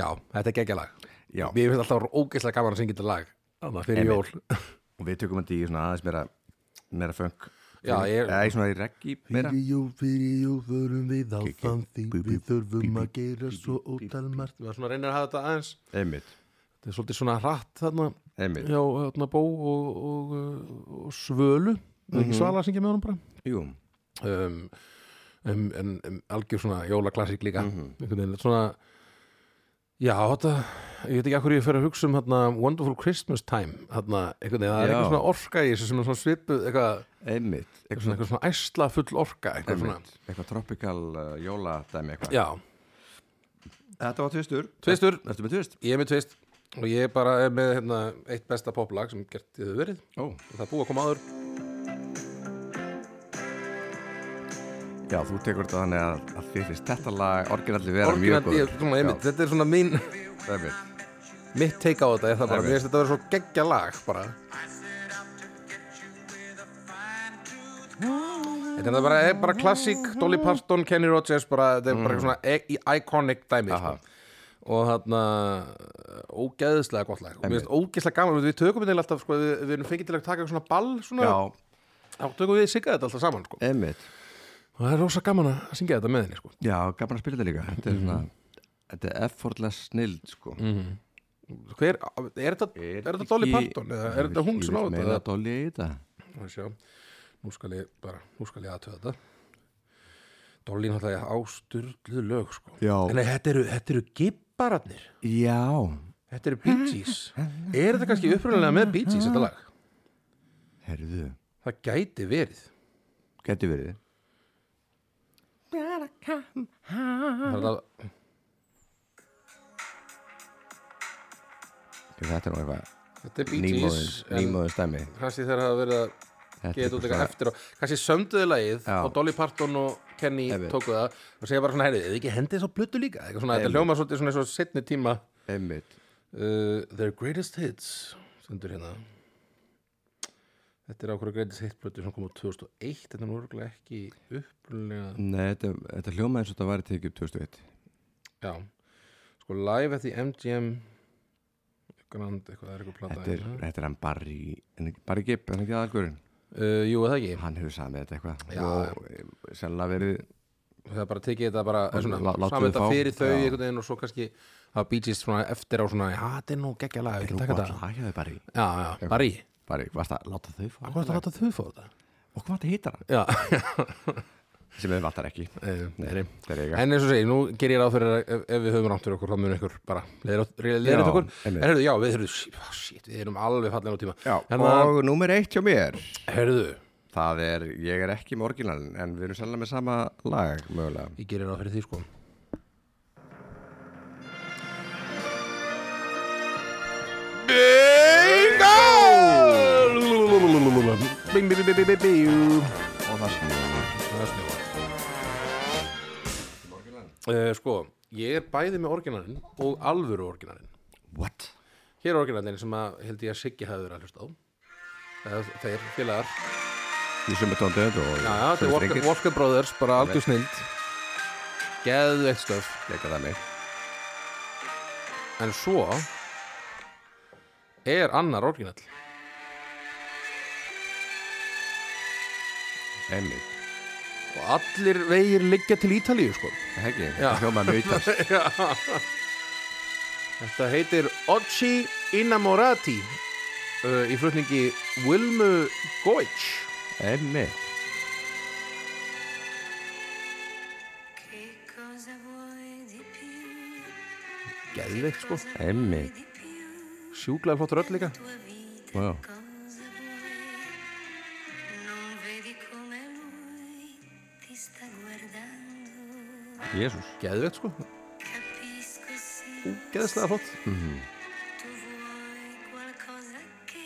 já, þetta er geggja lag
Já.
mér finnst alltaf ógeðslega gaman að syngja þetta lag þarna, fyrir
Einmitt.
jól
Og við tökum þetta í svona aðeins meira meira funk
Já, ég-
Eða í svona í reggi meira
Fyrir jól, fyrir jól förum við á
Kíkjum.
þannig
Bú, bú,
Við
bú,
þurfum
bú,
að gera svo ótal margt
Maður svona reynir að hafa þetta aðeins
Einmitt
þetta er svolítið svona hratt þarna
Einmitt
Já, þarna Bó og, og, uh, og Svölu mm ekki Svala að syngja með honum bara
Jú
um, um, en um, algjör svona jólaklassik líka einhvern veginn svona já, þetta, ég veit ekki að hverju ég fer að hugsa um þarna, Wonderful Christmas Time þarna, einhvern veginn, það er
Já.
eitthvað svona orka í þessu sem er svona svipuð, eitthvað
Einmitt Eitthvað
svona, eitthvað svona æsla full orka eitthvað svona,
Einmitt. Eitthvað tropical uh, jóladæmi eitthvað
já,
Þetta var tvistur
Tvistur.
Ertu með tvist?
ég er með tvist og ég bara er með hérna, eitt besta poplag sem gert þið verið
Ó
og það er búið að koma aður
Já, þú tekur þetta þannig að, að þið finnst þetta lag orginalli vera mjög
Orginal-
góð
ég- svona, einmitt, þetta er svona mín
Einmitt
mitt take á þetta er það bara,
Nei,
mér finnst þetta að vera svo geggja lag bara Þetta er bara, er bara klassík Dolly Parton, Kenny Rogers bara, þetta er bara
Mm.
svona e í- iconic dæmi sko. og þarna ógeðislega gott lag og mér finnst ógeðislega gaman, við tökum þetta alltaf sko, við, við erum fengið til að taka svona ball svona,
Já, Eh.
þá tökum við sigga þetta alltaf saman sko.
einmitt
og það er rosa gaman að syngja þetta með henni sko.
Já, gaman að spila þetta líka Þetta er svona Þetta er effortless snild sko
Hver, er þetta, er þetta Dolly Parton eða er þetta hún sem á þetta
Meina
eða-
að Dolly í þetta
Má sjá, nú skal ég bara, nú skal ég aðtöða þetta Dolly náttúrulega á styrlu lög sko
Já.
En nei, þetta eru, þetta eru gibbararnir
Já,
Þetta eru Bee Gees Er þetta kannski upprunalega með Bee Gees þetta lag?
herðu
Það það gæti verið
Gæti verið
Það er að-
Ég, Þetta er nú eitthvað
Þetta er Bee Gees
nýmóðin,
en
nýmóðin stæmi
kannski þegar það hafa verið að
Þetta er
geta út eitthvað
bara-
eftir á kannski sömduði lagið
Já.
og Dolly Parton og Kenny
Einmitt.
tóku það og segja bara svona, heyrðu, eða ekki hendið svo blötu líka eitthvað svona, þetta hljóma svolítið svona eins og setni tíma
Einmitt
uh, Their Greatest Hits sendur hérna Þetta er ákveður Greatest Hits blötu sem kom á 2001, þetta er nú örgulega ekki upprunalega
Nei, þetta, þetta hljóma eins og þetta var tekið upp 2001
Já, sko live at the MGM Grand, eitthvað, það er eitthvað plata hérna.
Þetta er, þetta er hann Barry en ekki- Barry Gibb, en ekki aðalgurinn
uh, Jú, eða ekki,
Hann hefur samið þetta eitthvað
Já.
og sennilega verið
það er bara tekið þetta bara
Og
svona,
lá- látum
saman
við
þetta
fá.
fyrir þau
Já.
einhvern veginn og svo kannski að Bee Gees svona eftir á svona, já, þetta er nú geggja lag, ekki taka þetta
lagjaði Barry
Já, já, bara í,
Barry, varst að láta þau fá
hvað er þetta að láta þau fór þetta?
Og hvað þetta hittar hann?
Já,
Sem við vantar ekki
eh, nei.
Þetta er eiga
en eins og segi, nú ger ég ráð fyrir að ef, ef við höfum rámt fyrir okkur, þá mun ykkur bara leiðir
Já,
okkur, en
einmitt.
herruðu, já, við höfum shit, við erum alveg fallin á tíma Hérna,
Já,
en það,
og númer eitt hjá mér
herruðu,
Það er, ég er ekki með orginalin En við erum sennilega með sama lag mögulega
ég gerir ráð fyrir því sko Bingo! Bing, bing, bing, bing, bing, bing
Og það snjóar
Það snjóar uh, Sko, ég er bæði með orginalinn og alvöru orginalinn
What?
Hér er orginalinn sem að held ég að Siggi hafi verið að hlusta á Eða Þeir, félagar Já,
Í sömu tóndöð og
já, þetta er Walker, Walker Brothers, bara algjör snild Geðu eitt stöf
Leika það mig
En svo er annar orginall
Einmitt
Og allir vegir liggja til Ítalíu, sko
Heggi, þetta hljómaði mjög ítast
Þetta heitir Oggi Innamorati uh, í flutningi Wilmu Goich
Einmitt
Che cosa vuoi di più?
Geðveikt sko
Einmitt
Di più?
Sjúklaði flott rödd líka
Tua vita
Wow.
cosa vuoi? Non vedi come lui ti sta guardando?
Jésús
Geðveikt sko
Capisco sì,
Geðslega flott
Hm.
tu vuoi qualcosa che,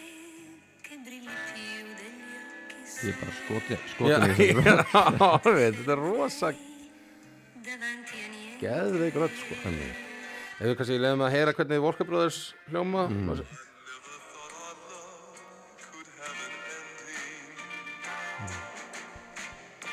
che brilli più degli occhi
Ég er bara skoti,
Já,
skoti
já, veit, Þetta er rosa
davanti a niente.
geðveik rödd sko Ef við kannski leiðum að heyra hvernig Walker Brothers hljóma mm.
Never thought our love could have an ending.
Mm.
It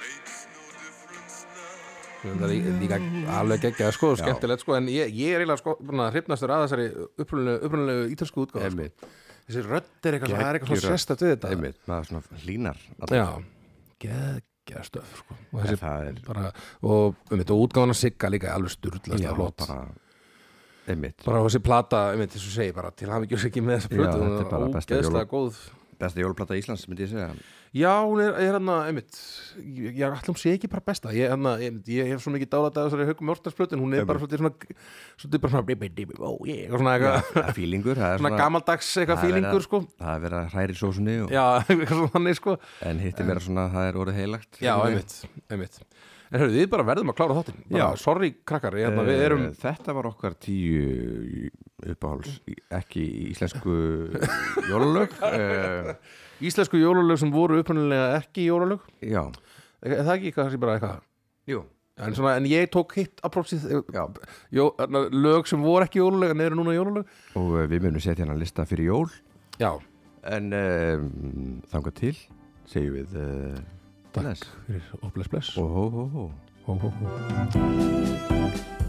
makes no difference now.
Það er í- líka alveg geggjað sko, skemmtilegt sko En ég, ég er eiginlega sko, búin að hrifnastur að þessari upprunalegu, upprunalegu ítalsku útgáð sko.
Einmitt
Þessi rödd er eitthvað, svona- það er eitthvað
Geggjur
svona
rödd.
sérstætt við þetta
Einmitt Maður svona hlínar
Já, geggja stöf sko. og, þessi,
það er-
bara, og, um þetta, og útgáfan að sigga líka er alveg sturglast
Já,
og flott bara,
bara Einmitt
og þessi plata, um þetta, þessu segi bara til hafingjur ekki með þessa
Já,
plötu hún
þetta er bara besta
ógeðslega
jóla-
góð
Besta jóluplata Íslands, myndi ég segja
Já, hún er, er hann að, einmitt ég, ég ætlum sé ekki bara besta ég, hana, ég, ég hef svo mikið dálætt að þessari haugum mjórtarsplötu en hún er bara svolítið svona svolítið bara svona, bibi, bibi, ó, ég, eitthvað svona, eitthvað,
Það er Fílingur, það er
svona gamaldags eitthvað
það er verið að-
fílingur sko.
Það er verið að hræri sósunni og,
Já, eitthvað svona þannig sko
En hitti vera svona, það er orðið heilagt
Já, einmitt, einmitt En hörðu, við bara verðum að klára þáttinn bara,
Já.
Sorry krakkar, ég, hérna, við
Eh,
erum
Þetta var okkar tíu uppáhals Ekki íslensku jólulög uh,
íslensku jólalög sem voru upprunalega ekki jólalög
Já
Er það ekki kannski bara eitthvað
Jú
En, svona, en ég tók hitt approachið
Já.
jó, þarna, lög sem voru ekki jólalög en eru núna jólalög
Og eh, við munum setja hann að lista fyrir jól
Já,
En um, þangað til segjum við uh, Takk
fyrir, og bless bless
Og hó hó hó
Hó, hó, hó.
Hó